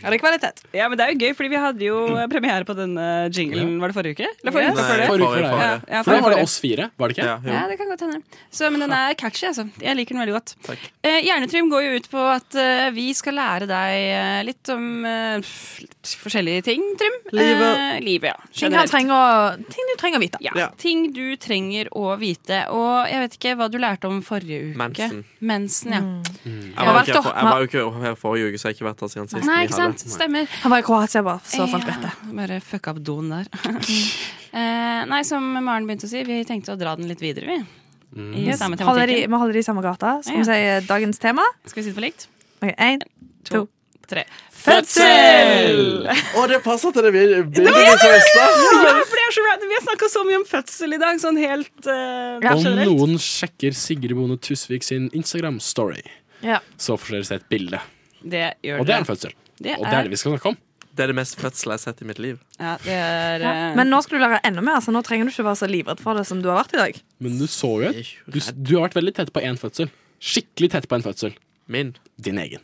S5: Er det kvalitet?
S2: Ja, men det er jo gøy, fordi vi hadde jo premiere på denne jinglen, var det forrige uke? Eller forrige uke?
S8: Nei,
S2: før det?
S6: forrige,
S8: forrige,
S6: forrige.
S2: Ja,
S8: forrige.
S2: ja,
S6: For da var det
S2: forrige.
S6: oss fire, var det ikke?
S8: Ja, jo.
S2: Ja, det kan godt hende. Så, men den er catchy, altså. Jeg liker den veldig godt.
S8: Takk.
S2: Eh, Hjernetrym går jo ut på at eh, vi skal lære deg eh, litt om eh, f- litt forskjellige ting, Trym.
S8: Livet.
S2: Eh, livet, ja.
S5: Ting, han
S2: Generelt.
S5: trenger å, ting du trenger å vite.
S2: Ja,
S8: Ja.
S2: Ting du trenger å vite. Og jeg vet ikke hva du lærte om forrige uke.
S8: Mensen.
S2: Mensen, ja.
S5: Mm.
S8: Jeg var, jo ikke,
S5: Jeg har vært
S8: her for- jeg var jo ikke her forrige uke, så jeg har ikke vært her siden sist.
S2: Nei,
S8: vi
S2: ikke
S8: hadde.
S2: sant? Stemmer.
S5: Han var i Kroatia, bare så folk
S2: Ja,
S5: vet det.
S2: Bare fucka opp doen der. *laughs* eh, nei, som Maren begynte å si, vi tenkte å dra den litt videre, vi. I
S8: Mm.
S5: Holder
S2: samme
S5: de,
S2: tematikken.
S5: vi holder de i samme gata. Skal vi si eh, dagens tema?
S2: Skal vi sitte på likt?
S5: Ok, en,
S2: To,
S5: to.
S2: tre. Fødsel!
S8: Å, det passer til det bildet vi så i stad.
S2: Ja, for det er så random. Vi har snakka så mye om fødsel i dag, sånn helt eh,
S6: Om
S2: generelt.
S6: noen sjekker Sigrid Bonde Tusvik sin Instagram-story,
S5: Ja.
S6: så får dere se et bilde.
S2: Det gjør
S6: Og det
S2: dere.
S6: er en
S2: eh.
S6: fødsel. Og det er det vi skal snakke om.
S8: Det er det mest fødselen jeg har sett i mitt liv.
S2: Ja, det er eh,
S5: Ja. Men nå skal du lære enda mer, så nå trenger du ikke være så livredd for det som du har vært i dag.
S6: Men du så jo et du, du har vært veldig tett på én fødsel. Skikkelig tett på en fødsel.
S8: Min?
S6: Din egen.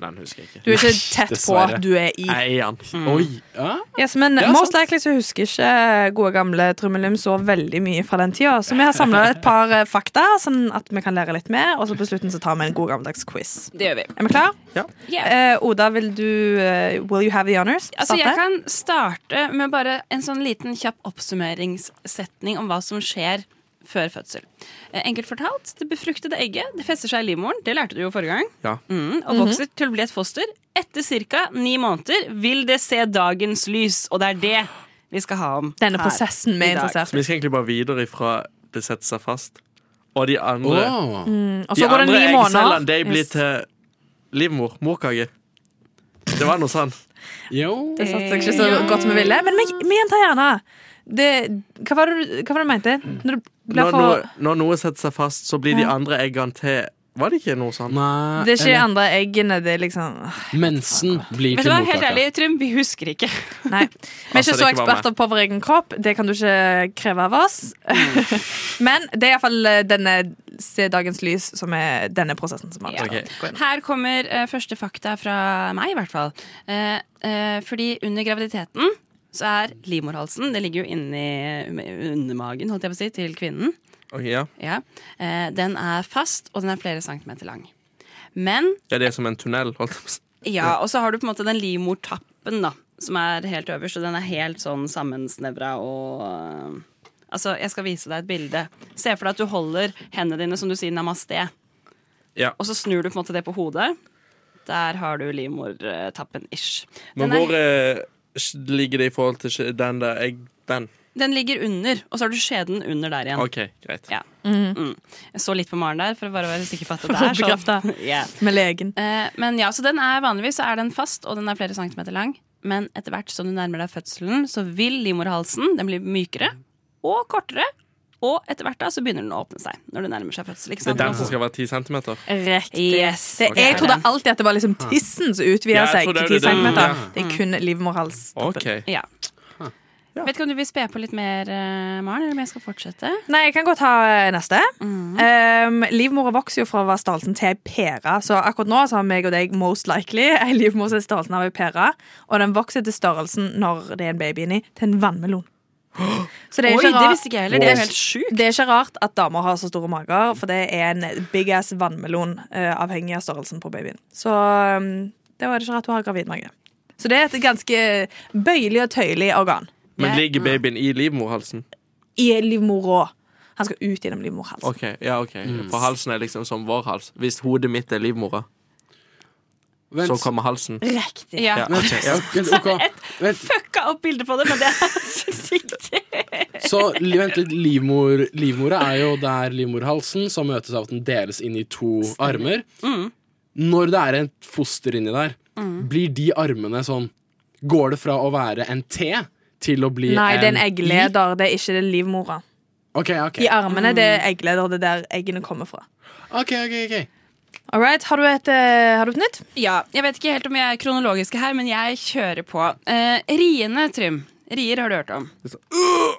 S8: Den husker jeg ikke.
S5: Du er ikke tett på
S6: dessverre.
S5: at du er i.
S8: Jeg er i den.
S6: Oi, ja.
S5: Yes, men
S6: Det er
S5: most likely så husker ikke gode gamle Trummelum så veldig mye fra den tida, så vi har samla et par eh, fakta, sånn at vi kan lære litt mer, og så på slutten så tar vi en god gammeldags quiz.
S2: Det gjør vi.
S5: Er vi klar?
S8: Ja.
S5: Eh, Oda, vil du eh, Will you have the honors?
S2: Altså, jeg
S5: Starte?
S2: kan starte med bare en sånn liten kjapp oppsummeringssetning om hva som skjer før fødsel. Eh, Enkelt fortalt, det befruktede egget det fester seg i livmoren, det lærte du jo forrige gang,
S8: Ja.
S2: mm,
S5: Mhm.
S2: og vokser til å bli et foster. Etter ca. ni måneder vil det se dagens lys, og det er det vi skal ha om
S5: Denne
S2: her
S5: prosessen vi er
S2: i dag.
S5: interessert
S8: Så vi skal egentlig bare videre ifra det setter seg fast. Og de andre
S5: Åh. Mm, og så går det ni måneder.
S8: de blir
S5: Yes.
S8: til livmor. Morkake. Det var noe sånn.
S2: Mm.
S5: Det satte seg ikke så godt vi ville, men vi, vi gjentar gjerne. Det, hva, var det, du- hva var det du mente? Når det ble
S8: Når,
S5: for,
S8: noe, når noe setter seg fast, så blir de
S5: Ja.
S8: andre eggene til Var det ikke noe sånn?
S5: det er ikke de andre eggene, det er liksom
S6: Mensen blir
S2: Vet du hva, helt ærlig, Trym, vi husker ikke.
S8: *laughs*
S5: Nei. Vi er ikke
S8: Altså, det er
S5: så
S8: ikke bare
S5: eksperter på vår egen kropp, det kan du ikke kreve av oss. *laughs* Men det er iallfall eh, denne Se dagens lys som er denne prosessen som
S2: Ja.
S5: har
S2: Ok. Her kommer eh, første fakta fra meg, i hvert fall. Eh, eh, fordi under graviditeten så er livmorhalsen Det ligger jo inni eh, undermagen, holdt jeg på å si, til kvinnen.
S8: Ok, ja.
S2: Ja. Eh, den er fast, og den er flere centimeter lang. Men
S8: Ja, det er som en tunnel. Holdt jeg på å si.
S2: ja, og så har du på en måte den livmortappen, da. Som er helt øverst, og den er helt sånn sammensnevra og øh, Altså, jeg skal vise deg et bilde. Se for deg at du holder hendene dine som du sier namaste,
S8: Ja.
S2: og så snur du på en måte det på hodet. Der har du livmortappen ish.
S8: Men
S2: Den, er,
S8: hvor eh, ligger det i forhold til sk- den der egg... Den?
S2: den ligger under, og så har du skjeden under der igjen.
S8: OK, greit.
S2: Ja. Mm. Jeg så litt på Maren der for å bare være sikker på
S8: *laughs*
S2: at det er sånn. *laughs* Ja.
S5: Med legen.
S2: Eh, men ja, så den er vanligvis så er den fast, og den er flere centimeter lang. Men etter hvert som du nærmer deg fødselen, så vil livmorhalsen den blir mykere og kortere. Og etter hvert da, så begynner den å åpne seg. når du nærmer seg fødsel. Ikke
S8: Det
S2: sant?
S8: er den som skal være ti centimeter?
S5: Riktig.
S2: Yes.
S5: Det,
S2: Ok.
S5: jeg trodde alltid at det var liksom tissen som utvida
S8: Ja, jeg
S5: seg
S8: trodde
S5: til
S8: det
S5: 10
S8: var det.
S5: cm.
S8: Ja.
S5: Det er kun livmorhalstoppen.
S8: Ok.
S2: Ja. Vet ikke om du vil spe på litt mer, eh, Maren, eller om jeg skal fortsette?
S5: Nei, jeg kan godt ta eh, neste.
S2: Mm.
S5: Um, livmora vokser jo fra å være størrelsen til ei pære, så akkurat nå så har meg og deg most likely *laughs* ei livmor som er størrelsen av ei pære, og den vokser til størrelsen når det er en baby inni, til en vannmelon. *gasps* Så
S2: Oi, det
S5: rart-
S2: visste ikke jeg heller. Det er jo helt sjukt.
S5: Det er ikke rart at damer har så store mager, for det er en big ass vannmelon, eh, avhengig av størrelsen på babyen. Så um, det var ikke rart du har gravid mage. Så det er et ganske bøyelig og tøyelig organ.
S8: Men ligger babyen i livmorhalsen?
S5: I livmora. Han skal ut gjennom livmorhalsen.
S8: OK. ja, ok For halsen er liksom som vår hals. Hvis hodet mitt er livmora, så kommer halsen.
S5: Riktig.
S2: Ja.
S8: Ja, ok, ja,
S6: ok.
S2: Et fucka opp bilde på det, men det er *laughs* så riktig.
S6: Så li- vent litt, livmor, livmora er jo der livmorhalsen som møtes av at den deles inn i to armer.
S2: Mm.
S6: Når det er et foster inni der,
S2: Mm.
S6: blir de armene sånn Går det fra å være en T til å bli
S5: Nei, det er en
S6: I?
S5: eggleder, det er ikke det livmora.
S6: Ok, ok.
S5: I armene det er eggleder, det er der eggene kommer fra.
S6: Ok, ok, ok.
S5: All right, har du et, eh, har du et nytt?
S2: Ja, jeg vet ikke helt om jeg er kronologiske her, men jeg kjører på. Eh, riene, Trym. Rier har du hørt om.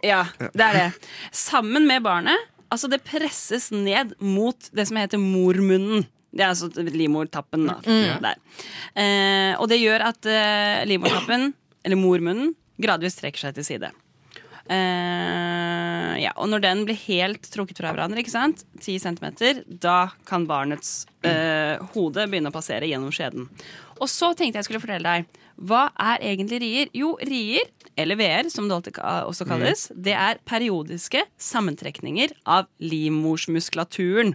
S2: Ja, det er det. Sammen med barnet. Altså, det presses ned mot det som heter mormunnen. Det er altså livmortappen. da,
S12: Mm.
S2: der. Eh, og det gjør at eh, livmortappen, eller mormunnen, gradvis trekker seg til side. Eh, ja, og når den blir helt trukket fra hverandre, ikke sant? 10 cm, da kan barnets eh, hode begynne å passere gjennom skjeden. Og så tenkte jeg skulle fortelle deg, hva er egentlig rier? Jo, rier, eller VR, som det alltid ka- også kalles, det er periodiske sammentrekninger av livmorsmuskulaturen.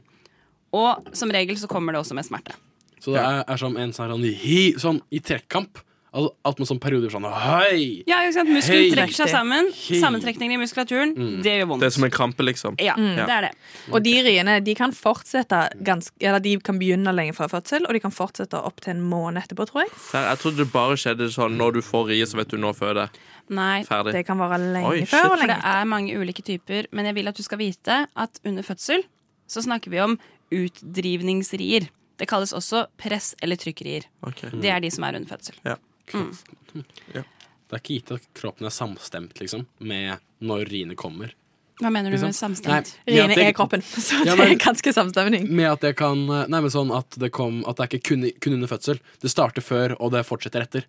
S2: Og som regel så kommer det også med smerte.
S6: Så det er, er som en sånn, sånn, hi, sånn i trekkamp. Altså, at man sånn perioder sånn Hei!
S2: Ja, ikke sant? Muskler
S6: Hei!
S2: trekker seg sammen.
S6: Hei!
S2: Sammentrekninger i muskulaturen, det gjør vondt.
S8: Det er som en krampe, liksom.
S2: Ja, det er det.
S5: Og de riene de kan fortsette ganske, eller de kan begynne lenge før fødsel, og de kan fortsette opp til en måned etterpå, tror jeg.
S8: Der, jeg trodde det bare skjedde sånn når du får rier, så vet du nå føder.
S2: Nei,
S8: Ferdig.
S5: Det kan være lenge
S8: Oi, shit.
S5: før og
S2: For
S5: lenge
S2: det er mange ulike typer, men jeg vil at du skal vite at under fødsel så snakker vi om utdrivningsrier. Det kalles også press- eller trykkerier.
S8: Ok.
S2: Det er de som er under fødsel.
S8: Ja.
S6: Ja. Det er ikke gitt at kroppen er samstemt liksom, med når riene kommer.
S2: Hva mener du
S6: Liksom.
S2: med
S6: Nei,
S2: samstemt?
S6: med at jeg-
S5: *laughs*
S6: Ja, men-
S5: ganske samstemning.
S6: Med at det kan Nei, men sånn at det, kom, at det er ikke kun, kun under fødsel. Det starter før, og det fortsetter etter.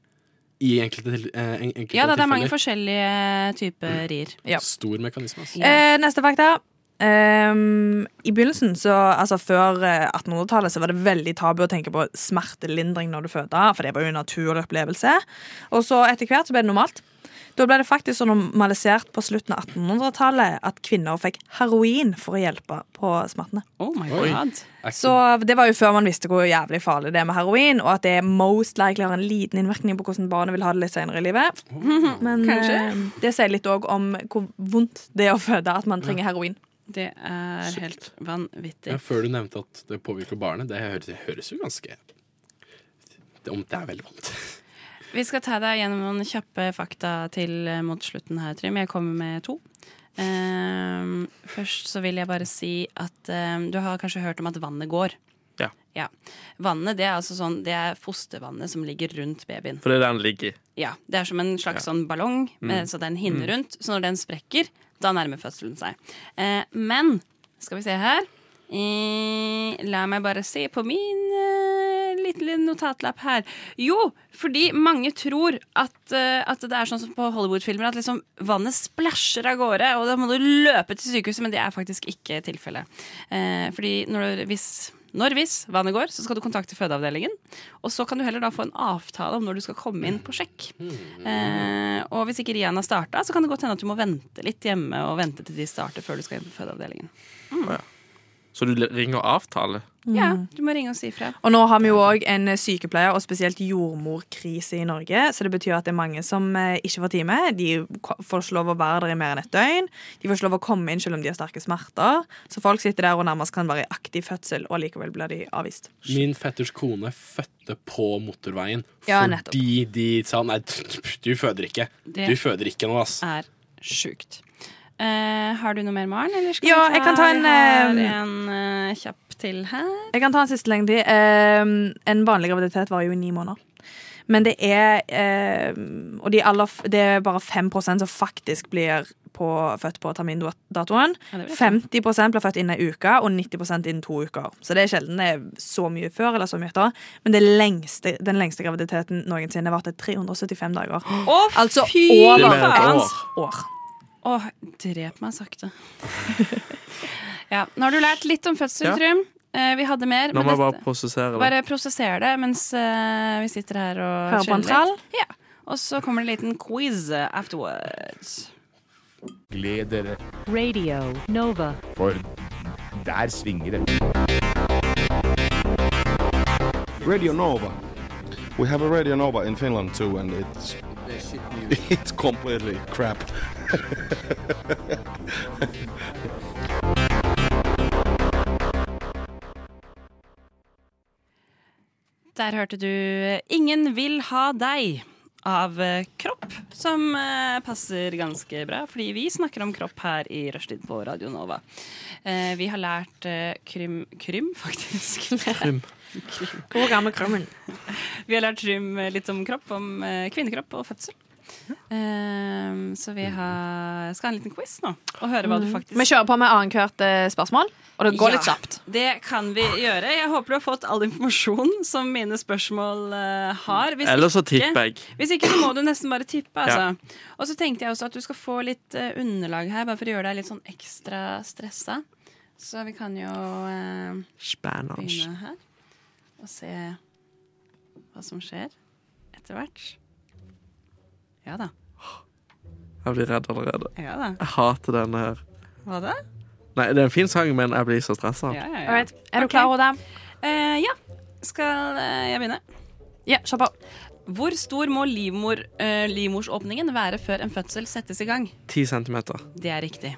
S6: I enkelte, til, eh, en- enkelte
S2: Ja da, det er mange
S6: tilfeller.
S2: forskjellige typer
S6: Mm.
S2: rier.
S6: Stor mekanisme. Altså.
S5: Eh, neste fakta. Ehm, I begynnelsen, så, altså før eh, 1800-tallet, så var det veldig tabu å tenke på smertelindring når du fødte, for det var jo en naturlig opplevelse. Og så etter hvert så ble det normalt. Da ble det faktisk så normalisert på slutten av 1800-tallet at kvinner fikk heroin for å hjelpe på smertene.
S2: Oh my
S6: Oi.
S2: god.
S5: Så det var jo før man visste hvor jævlig farlig det er med heroin, og at det most likely har en liten innvirkning på hvordan barnet vil ha det litt senere i livet. Men
S2: Kanskje.
S5: eh, det sier litt òg om hvor vondt det er å føde at man trenger heroin.
S2: Det er helt vanvittig.
S6: Ja, før du nevnte at det påvirker barnet, det høres, det høres jo ganske det, om det er veldig vondt.
S2: Vi skal ta deg gjennom noen kjappe fakta til eh, mot slutten her, Trym. Jeg kommer med to. Ehm, først så vil jeg bare si at ehm, du har kanskje hørt om at vannet går.
S8: Ja.
S2: Ja. Vannet det er altså sånn Det er fostervannet som ligger rundt babyen.
S8: For det er der den ligger.
S2: Ja, Det er som en slags
S8: Ja.
S2: sånn ballong, med,
S8: Mm.
S2: så det er en hinne
S8: Mm.
S2: rundt. Så når den sprekker, da nærmer fødselen seg. Eh, men skal vi se her eh, La meg bare se på min eh, lille notatlapp her. Jo, fordi mange tror at, eh, at det er sånn som på Hollywood-filmer at liksom vannet splæsjer av gårde, og da må du løpe til sykehuset, men det er faktisk ikke tilfellet. Eh, fordi når, du- hvis når hvis vannet går, så skal du kontakte fødeavdelingen. Og så kan du heller da få en avtale om når du skal komme inn på sjekk.
S8: Hmm.
S2: Eh, og hvis ikke Rian har starta, så kan det godt hende at du må vente litt hjemme og vente til de starter før du skal inn på fødeavdelingen.
S8: Å, ja. Så du ringer og avtaler?
S5: Hmm.
S2: Ja, du må ringe og si ifra.
S5: Og nå har vi jo òg en eh, sykepleier- og spesielt jordmorkrise i Norge. Så det betyr at det er mange som eh, ikke får time. De ko- får ikke lov å være der i mer enn et døgn. De får ikke lov å komme inn selv om de har sterke smerter. Så folk sitter der og nærmest kan være i aktiv fødsel, og likevel blir de avvist.
S6: Min fetters kone fødte på motorveien
S5: Ja, nettopp.
S6: fordi de sa nei, du føder ikke.
S2: Det
S6: Du føder ikke nå, ass.
S2: er sjukt. Eh, har du noe mer, Maren? Eller skal
S5: Ja,
S2: vi
S5: jeg kan ta en,
S2: vi har
S5: eh,
S2: en eh, kjapp til her.
S5: Jeg kan ta en siste lengde. Ehm, en vanlig graviditet varer jo i ni måneder. Men det er ehm, Og de aller, f- det er bare 5 som faktisk blir på, født på termindatoen.
S2: Ja, det vil jeg tro.
S5: 50 blir født innen ei uke, og 90 innen to uker. Så det er sjelden det er så mye før eller så mye etter. Men det lengste, den lengste graviditeten noensinne varte 375 dager.
S2: Å,
S5: altså
S2: fy
S5: over
S2: faen!
S5: hans år.
S2: Åh, drep meg sakte. *laughs* ja, nå har du lært litt om fødsel,
S8: Ja.
S2: Trym. Eh, vi hadde mer.
S8: Nå
S2: men
S8: må jeg
S2: dette-
S8: bare prosessere det.
S2: Bare prosesser det mens eh, vi sitter her og
S5: Hører på en
S2: chiller litt. Ja. Og så kommer det en liten quiz eh, afterwards.
S13: Gled dere,
S7: Radio Nova.
S13: for der svinger det.
S9: Radio Nova. We have a Radio Nova in Finland too, and it's it's completely crap.
S2: Der hørte du eh, 'Ingen vil ha deg' av eh, Kropp, som eh, passer ganske bra, fordi vi snakker om kropp her i Rushtid på Radio Nova. Eh, vi har lært eh, krym Krym, *laughs* faktisk.
S8: Krym.
S5: Hvor gammel krømmen?
S2: *laughs* Vi har lært Trym litt om kropp, om eh, kvinnekropp og fødsel. Ehm, så
S8: Mm.
S2: vi har, skal ha en liten quiz nå, og høre hva du faktisk
S5: Vi kjører på med annethvert eh, spørsmål, og det går litt
S2: Ja,
S5: kjapt.
S2: Det kan vi gjøre. Jeg håper du har fått all informasjon som mine spørsmål eh, har. Hvis
S8: Eller så
S2: ikke-
S8: tipper jeg.
S2: Hvis ikke, så må du nesten bare tippe. Altså. Og så tenkte jeg også at du skal få litt eh, underlag her, bare for å gjøre deg litt sånn ekstra stressa. Så vi kan jo eh,
S8: Spennende.
S2: begynne her og se hva som skjer etter hvert. Ja da.
S8: Jeg blir redd allerede.
S2: Ja da.
S8: Jeg hater denne her.
S2: Hva da?
S8: Nei, det er en fin sang, men jeg blir så stressa.
S2: Ja, ja, ja.
S5: Alright. Er du klar over det?
S2: ja. Skal eh, jeg begynne?
S5: Ja, kjapp av.
S2: Hvor stor må livmor, eh, livmorsåpningen være før en fødsel settes i gang?
S8: Ti centimeter.
S2: Det er riktig.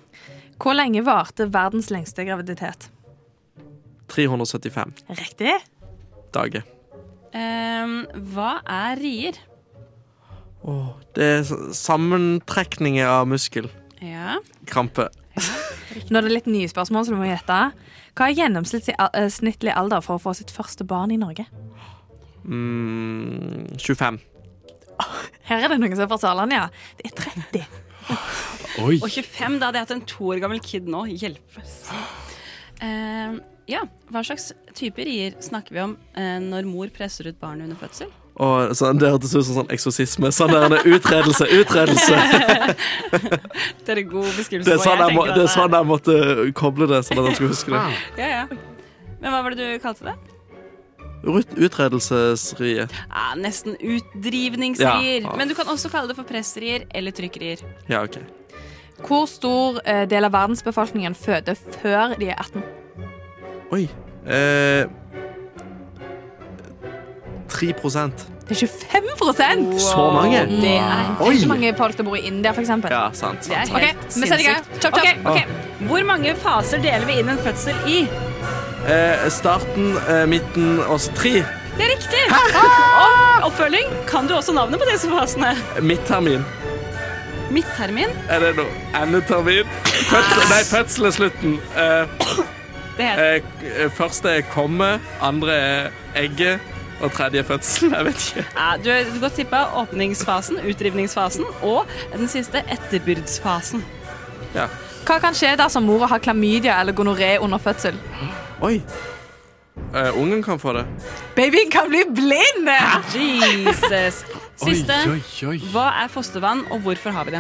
S5: Hvor lenge varte verdens lengste graviditet?
S8: 375
S5: Riktig.
S8: dager.
S2: Ehm, hva er rier?
S8: Åh, det er så- sammentrekninger av muskel.
S2: Ja.
S8: Krampe.
S5: Nå er det litt nye spørsmål, så du må gjette. Hva er eh, gjennomsnittlig alder for å få sitt første barn i Norge?
S8: Mm, 25.
S5: Her er det noen som er fra Saland, ja. Det er 30.
S6: Oi.
S2: Og 25, da hadde jeg hatt en to år gammel kid nå. Hjelpes. Eh, ja, hva slags typer rier snakker vi om eh, når mor presser ut barnet under fødsel?
S8: Og sånn, Det hørtes ut som sånn eksorsisme. Sånn der, det er utredelse, utredelse!
S2: *laughs* Det er en god beskrivelse.
S8: Det er
S2: på
S8: sånn
S2: hva
S8: jeg, må,
S2: tenker
S8: det er
S2: at
S8: sånn jeg måtte koble det, sånn at jeg skulle huske det.
S2: Ja, ja. Men hva var det du kalte det?
S8: Ut, utredelsesriet.
S2: Ah, nesten utdrivningsrier.
S8: Ja.
S2: Men du kan også kalle det for pressrier eller trykkrier.
S8: Ja, OK.
S5: Hvor stor eh, del av verdensbefolkningen føder før de er 18?
S8: Oi. Eh, 3
S5: Det er 25
S8: Så mange?
S5: Det er, det
S8: Oi.
S5: er ikke mange folk som bor i India, for eksempel.
S8: Ja, sant.
S5: Det er
S8: sant, sant.
S5: helt
S2: Helt
S5: vi setter i gang.
S2: sinnssykt.
S5: Chop, chop.
S2: Ok, ok. Hvor mange faser deler vi inn en fødsel i?
S8: Eh, starten, eh, midten og så tre.
S2: Det er riktig! Og oppfølging. Kan du også navnet på disse fasene?
S8: Midttermin.
S2: Midttermin.
S8: Er det noe endetermin? Fødsel, nei, fødsel er slutten. Eh,
S2: Det heter
S8: eh, k- første er komme, andre er egget, og tredje er fødsel. *laughs* Jeg vet ikke.
S2: ja, Du har godt tippa åpningsfasen, utdrivningsfasen og den siste etterbyrdsfasen.
S8: Ja.
S5: Hva kan skje dersom mora har klamydia eller gonoré under fødsel?
S8: Oi. Eh, ungen kan få det.
S5: Babyen kan bli blind!
S2: Jesus. Siste.
S8: *laughs* Oi, oi, oi.
S2: Hva er fostervann, og hvorfor har vi det?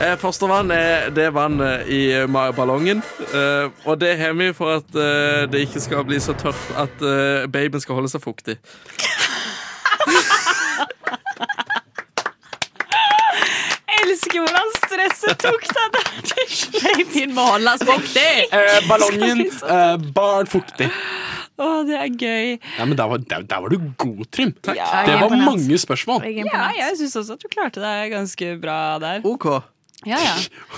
S8: Eh, Fostervann er det vannet i ma- ballongen. Eh, og det har vi for at eh, det ikke skal bli så tørt at eh, babyen skal holde seg fuktig.
S2: Elsker hvordan stresset tok deg *laughs* der til slutt.
S5: Babyen må holdes fuktig!
S6: Eh, ballongen eh, barn fuktig.
S2: Å, det er gøy.
S6: Nei, men der var, der, der var du god, Trym.
S2: Ja,
S6: det
S2: jeg er
S6: var
S2: imponert.
S6: mange spørsmål.
S2: Ja, jeg syns også at du klarte deg ganske bra der.
S8: OK.
S2: Ja, ja.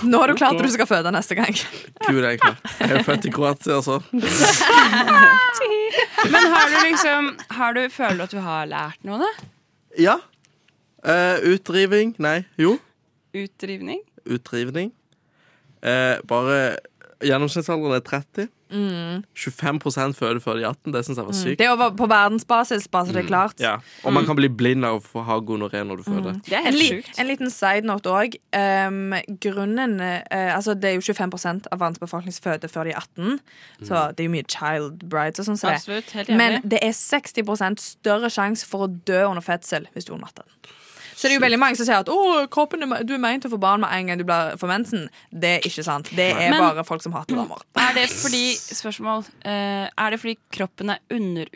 S5: Nå har du klart at du skal føde neste gang.
S8: Gud, jeg er klar. Jeg er jo født i Kroatia, altså. så.
S2: Men har du liksom har du, Føler du at du har lært noe, da?
S8: Ja. Eh, utdriving Nei, jo.
S2: Utdrivning?
S8: Utdrivning. Eh, bare Gjennomsnittsalderen er 30.
S5: Mm.
S8: 25 føder før de er 18. Det syns jeg var sykt. Mm,
S5: Det er over på verdensbasis, bare så det er klart.
S8: Ja. Og man kan bli blind av å få- ha gonoré når du
S5: Mm.
S8: føder.
S2: Det er helt
S5: en, li-
S2: sjukt.
S5: en liten side note òg. Um, grunnen eh, Altså, det er jo 25 av verdens befolkning som føder før de er 18,
S8: Mm.
S5: så det er jo mye child brides og sånn. som det er.
S2: Absolutt, helt enig.
S5: Men det er 60 større sjanse for å dø under fødsel hvis du er under 18. Så det er jo veldig mange som sier at «Åh, kroppen er, me- du er meint til å få barn med en gang du blir for mensen. Det er ikke sant. Det er
S2: Men-
S5: bare folk som hater damer.
S2: Er det fordi spørsmål, eh, er det fordi kroppen er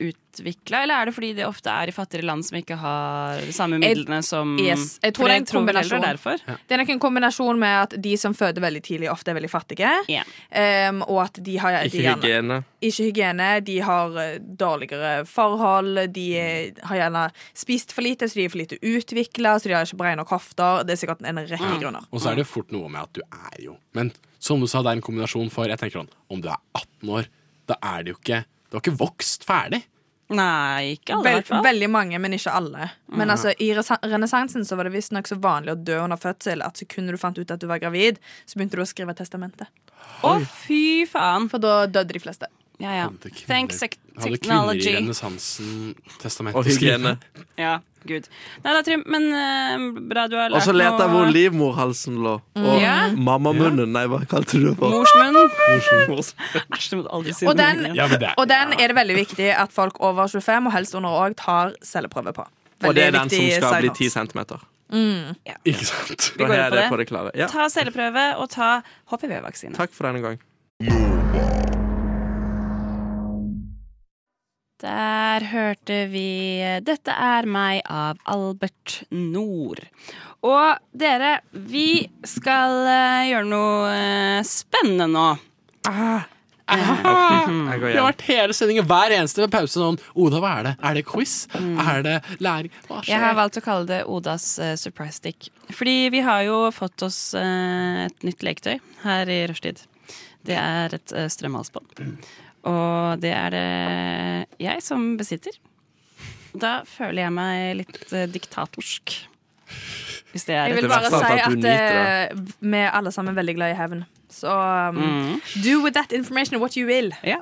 S2: underutvikla, eller er det fordi det ofte er i fattigere land som ikke har de samme
S5: Jeg-
S2: midlene som
S5: Yes. Jeg
S2: For
S5: tror det er en
S2: vel heller
S5: kombinasjon.
S2: det er derfor.
S5: Det er nok en kombinasjon med at de som føder veldig tidlig, ofte er veldig fattige. Um, og at de har de
S8: Ikke
S5: gjerne-
S8: hygiene.
S5: Ikke hygiene. De har eh, dårligere forhold. De eh, har gjerne spist for lite, så de er for lite utvikla, så de har ikke brede nok hofter. Det er sikkert en rekke grunner.
S6: Og så er det
S2: Mm.
S6: fort noe med at du er jo Men som du sa, det er en kombinasjon for Jeg tenker sånn, om du er 18 år, da er det jo ikke Du har ikke vokst ferdig.
S2: Nei, ikke alle, i
S5: Vel,
S2: hvert fall.
S5: veldig mange, men ikke alle. Men
S6: Mhm.
S5: altså, I resa- renessansen så var det visstnok så vanlig å dø under fødsel at sekundet du fant ut at du var gravid, så begynte du å skrive testamentet.
S2: Å, fy faen!
S5: For da døde de fleste.
S2: Ja, ja. Thanks, sec-
S6: Hadde kvinner i
S2: technology.
S6: renessansen testament
S8: Og hygiene.
S2: Ja, gud. Nei da, Trym, men eh, bra du har
S8: Og
S2: lært
S8: så leter jeg
S2: noe. Mm.
S8: hvor livmorhalsen lå. Og
S2: Ja.
S8: mammamunnen. Nei, hva kalte du det *laughs* for?
S2: Morsmunnen.
S8: Mors.
S2: Æsj, det må du aldri si.
S5: Og den,
S8: Ja, men det er-
S5: og den er det veldig viktig at folk over 25, og helst under òg, tar celleprøve på.
S8: Og det
S5: Veldig
S8: er den som
S5: viktig
S8: skal bli
S5: sign-off.
S8: 10 centimeter.
S5: Mm.
S6: Ikke sant?
S2: Vi
S8: Da
S2: går
S8: har
S2: inn på
S8: jeg det
S2: det.
S8: på det klare. Ja.
S2: Ta celleprøve og ta HPV-vaksine.
S8: Takk for denne gang.
S2: Der hørte vi 'Dette er meg' av Albert Nord. Og dere, vi skal eh, gjøre noe eh, spennende nå. Mm.
S6: Ah,
S8: går
S6: *laughs* Vi har vært hele sendingen hver eneste ved pause sånn Oda, hva er det? Er det quiz? Er det læring? Hva
S2: Mm. Jeg har
S6: skjer?
S2: valgt å kalle det Odas eh, surprise stick. Fordi vi har jo fått oss eh, et nytt leketøy her i rushtid. Det er et uh, strømhalsbånd. Og det er det jeg som besitter. Da føler jeg meg litt eh, diktatorsk. Hvis det er
S5: Jeg vil
S2: et
S5: bare
S2: verste.
S5: si
S8: at du
S5: at eh, vi er alle sammen veldig glad i hevn. Så um,
S2: Mm.
S5: do with that information what you will.
S2: Ja,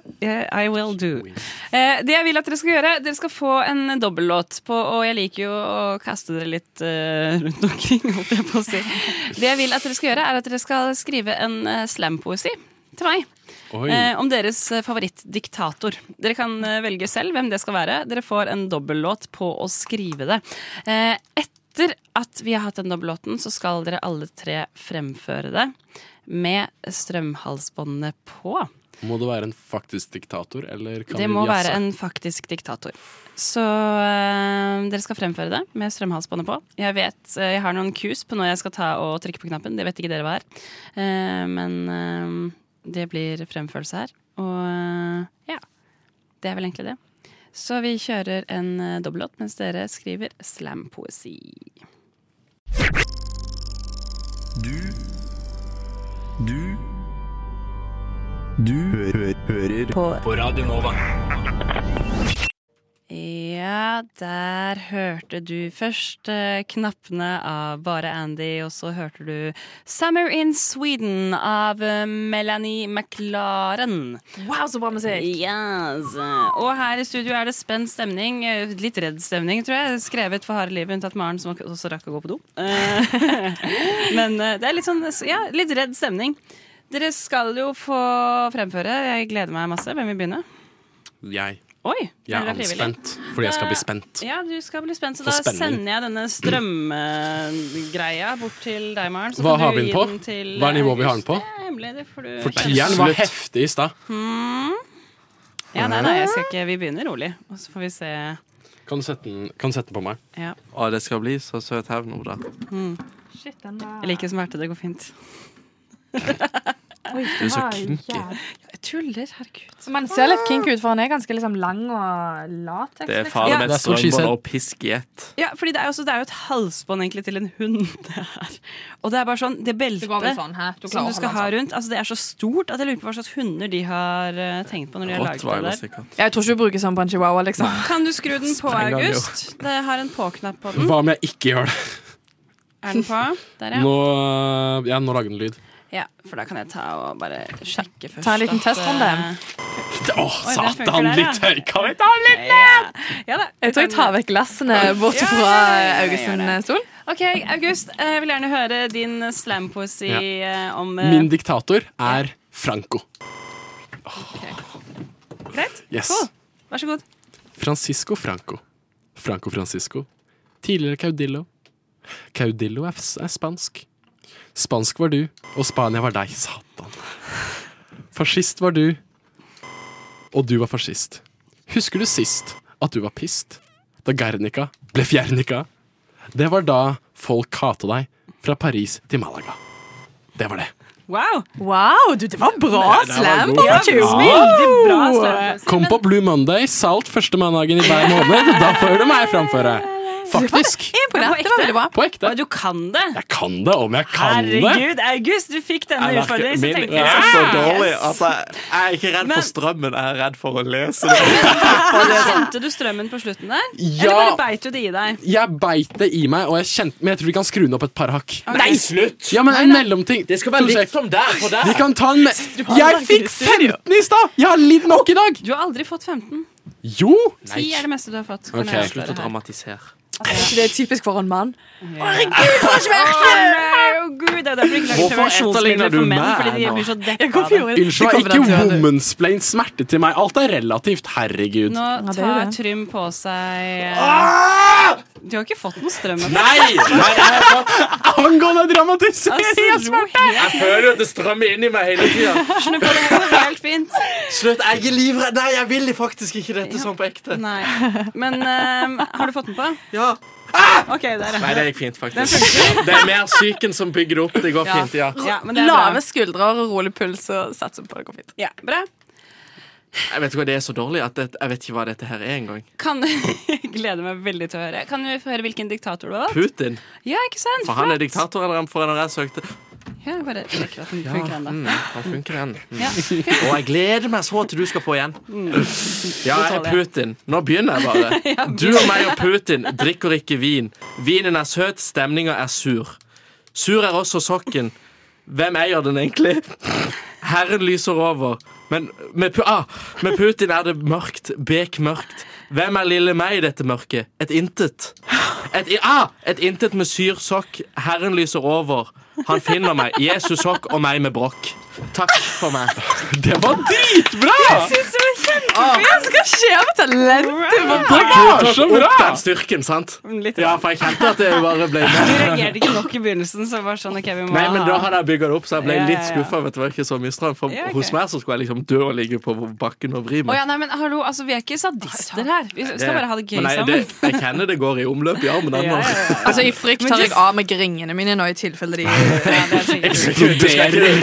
S2: I will do. Eh, det jeg vil at dere skal gjøre, dere skal få en dobbellåt på, og jeg liker jo å kaste dere litt eh, rundt omkring, *laughs* holdt jeg på å si. Det jeg vil at dere skal gjøre, er at dere skal skrive en eh, slampoesi til meg.
S14: Oi.
S2: Eh, om deres eh, favorittdiktator. Dere kan eh, velge selv hvem det skal være. Dere får en dobbellåt på å skrive det. Eh, etter at vi har hatt den dobbellåten, så skal dere alle tre fremføre det med strømhalsbåndene på.
S6: Må det være en faktisk diktator, eller kan
S2: Det
S6: vi
S2: må
S6: jazze?
S2: være en faktisk diktator. Så øh, dere skal fremføre det med strømhalsbåndet på. Jeg vet, øh, jeg har noen kus på når jeg skal ta og trykke på knappen. Det vet ikke dere hva er. Eh, men øh, det blir fremførelse her. Og øh, ja, det er vel egentlig det. Så vi kjører en uh, dobbellåt mens dere skriver slampoesi.
S15: Du Du Du hø hø hører på. på Radio Nova.
S2: Ja, der hørte du først eh, knappene av Bare Andy, og så hørte du Summer in Sweden av eh, Melanie McLaren.
S5: Wow, så bra musikk!
S2: Yes. Og her i studio er det spent stemning. eh, Litt redd stemning, tror jeg. Skrevet for harde livet, unntatt Maren, som også rakk å gå på do. Eh, *laughs* Men eh, det er litt sånn, ja, litt redd stemning. Dere skal jo få fremføre. Jeg gleder meg masse. Hvem vil begynne?
S6: Jeg.
S2: Oi!
S6: Jeg er
S2: føler deg frivillig. Eh,
S6: anspent, fordi jeg skal
S2: Da-
S6: bli spent.
S2: Ja, du skal bli spent, så
S6: For
S2: da
S6: spenning.
S2: sender jeg denne strømgreia bort til deg, Maren. så
S6: Hva
S2: kan
S6: har
S2: du
S6: vi den
S2: gi
S6: på?
S2: til, eh,
S6: Hva er nivået vi har den på?
S2: Det er hemmelig, det får du
S6: For
S2: kjenne.
S6: tieren var heftig i stad.
S2: Hmm. Ja, nei, nei, jeg skal ikke Vi begynner rolig, og så får vi se.
S6: Kan du sette den, kan du sette den på meg?
S2: Ja.
S8: Å, det skal bli så søt hevn, Oda.
S2: Hmm.
S5: Shit, den var
S2: Jeg liker smerte, det går fint.
S5: Oi,
S8: Du er så kinky.
S2: Jeg tuller, herregud.
S5: Man ser litt kink ut, for han er ganske liksom lang og lat.
S8: Det er fare med
S6: det er så cheesy.
S8: strømbånd og pisk i ett.
S2: Ja, fordi det er, jo også, det er jo et halsbånd egentlig til en hund. *laughs* Det her. Og det er bare sånn, det beltet
S5: går med sånn her. Du klarer å
S2: som du
S5: holde
S2: skal
S5: den
S2: ha
S5: sånn.
S2: rundt, altså det er så stort at jeg lurer på hva slags hunder de har eh, tenkt på når de har laget det der.
S5: Jeg tror ikke du bruker sånn på en chihuahua, liksom.
S2: Kan du skru den på,
S6: Spreng den, jo.
S2: August? Det har en på-knapp på den.
S6: Hva om jeg ikke gjør det?
S2: Er den på? Der, ja.
S6: Nå, ja, nå lager den lyd.
S2: ja. For da kan jeg ta og bare sjekke først.
S5: Ta en liten
S2: at,
S5: test om den.
S2: eh,
S6: Å,
S2: Oi, der funker
S6: satan!
S2: der, ja.
S6: Litt høy. Kan vi ta den litt
S2: ned? Ja da.
S5: Jeg tror jeg tar vekk glassene bort
S2: Ja,
S5: fra
S2: ja, ja,
S5: August
S2: ja,
S5: sin
S2: ja.
S5: stol.
S2: OK, August, eh, jeg vil gjerne høre din slampoesi eh, om eh,
S6: Min diktator er Franco.
S2: Greit?
S6: Yes.
S2: Cool. Vær så god.
S6: Francisco Franco. Franco Francisco. Tidligere Caudillo. Caudillo er, s- er spansk. Spansk var du, og Spania var deg, satan. Fascist var du, og du var fascist. Husker du sist at du var pist? Da Guernica ble Fjernica? Det var da folk hata deg fra Paris til Malaga. Det var det.
S2: Wow!
S5: du, det var bra
S6: Ja, det var
S5: slam
S6: god.
S5: på
S6: Ja,
S5: Veldig bra
S6: Wow. Kom på Blue Monday, salt første mandagen i hver måned. Da får du meg framføre. Faktisk.
S2: Imponert. Det var veldig bra.
S6: På ekte.
S2: Du kan det!
S6: Jeg kan det om jeg kan det.
S2: Herregud, August, du fikk denne
S8: Jeg merker-
S2: utfordringen. Så
S8: min
S2: tenkte
S8: er
S2: jeg
S8: så
S2: yes.
S8: dårlig. Altså, jeg er ikke redd
S2: Men-
S8: for strømmen, jeg er redd for å lese det.
S2: Kjente du strømmen på slutten der? Eller
S6: Ja.
S2: bare beit du det i deg?
S6: Jeg beit det i meg, og jeg kjente, men jeg tror vi kan skru den opp et par hakk.
S2: Ok. Nei,
S6: slutt! Ja, men en mellomting. Det skal
S2: være likt som
S6: der
S2: og der.
S6: Vi kan ta en me Jeg fikk 15 i stad! Jeg har lidd nok i dag!
S2: Du har aldri fått 15.
S6: Jo!
S2: 10 er det meste du har fått.
S6: Ok.
S2: Cornelia
S6: Slutt å
S2: står her.
S8: Dramatisere.
S5: Det er typisk for en mann.
S2: Herregud, for Å Gud, det er derfor du ikke lager
S6: Hvorfor
S2: prevensjonsmidler
S6: etterligner du
S2: for menn.
S6: meg
S2: Fordi de
S6: nå?
S2: blir så
S5: Jeg
S2: deppa
S5: kom
S2: av det.
S5: fjor.
S6: Unnskyld meg, ikke womansplain smerte til meg. Alt er relativt. Herregud.
S2: Nå
S5: Ja, det er jo
S2: tar
S5: det.
S2: Trym på seg eh,
S6: Ah!
S2: Du har ikke fått noe strøm? eller?
S8: Nei! Nei, jeg har fått
S6: *laughs* angående dramatisering!
S2: Altså, ro
S8: Jeg føler jo at det strømmer inni meg hele tida.
S2: helt. Nå går det går helt fint.
S8: Slutt, jeg er livredd. Nei, jeg vil faktisk ikke dette sånn på ekte.
S2: Nei. Men eh, har du fått den på?
S8: Ja.
S2: Ok, der.
S8: Nei, det gikk fint, faktisk. Det er mer psyken som bygger opp. Det går fint, ja.
S5: Lave skuldre og rolig puls og satser på det går fint.
S2: Ja, bra.
S8: Jeg vet ikke hva det er så dårlig at det, jeg vet ikke hva dette her er engang.
S2: Kan *laughs* Jeg gleder meg veldig til å høre. Kan vi få høre hvilken diktator du har valgt?
S8: Putin.
S2: Ja, ikke sant?
S8: For han er
S2: Flott.
S8: diktator, eller for han har jeg søkt
S2: Ja, bare sjekker at den
S8: Ja,
S2: funker ennå.
S8: mm, han funker den.
S2: *laughs*
S8: Mm.
S2: Ja.
S8: Og jeg gleder meg så til du skal få igjen.
S2: Mm.
S8: Ja, jeg
S2: Det
S8: er
S2: tåler jeg.
S8: Putin. Nå begynner jeg
S2: *laughs* Ja,
S8: bare.
S2: begynn.
S8: Du og meg og Putin drikker ikke vin. Vinen er søt, stemninga er sur. Sur er også sokken. Hvem eier den egentlig? *laughs* Herren lyser over. Men med, Pu- ah, med Putin er det mørkt, bekmørkt. Hvem er lille meg i dette mørket? Et intet. Et, i- ah, et intet med syr sokk. Herren lyser over. Han finner meg. Jesus sokk og meg med brokk. Takk for
S2: *laughs*
S8: meg. Det var dritbra!
S5: det var kjempefint! Hva skal skje med talentet på
S8: Det var så bra!
S2: Opp
S8: Den styrken, sant? Ja, for jeg kjente at det bare ble
S2: Du reagerte ikke nok i begynnelsen, så bare sånn OK, vi må
S8: Nei, men da
S2: ha
S8: hadde jeg bygget det opp, så jeg ble
S2: Ja, ja,
S8: litt
S2: ja.
S8: skuffa. Vet du, det var ikke så mye strøm. For
S2: Ja, ok.
S8: hos meg så skulle jeg liksom dø og ligge på bakken og vri
S2: Å
S8: meg.
S2: ja, nei, men hallo, altså, vi er ikke sadister her. Vi skal
S8: Det-
S2: bare ha det gøy
S8: men nei,
S2: sammen.
S8: Det, jeg kjenner det går i omløp i armen ennå.
S2: *laughs*
S5: Altså, I frykt
S2: Men
S5: tar jeg
S2: just-
S5: av meg ringene mine nå, i tilfelle de
S2: *laughs*
S8: Eksplodering.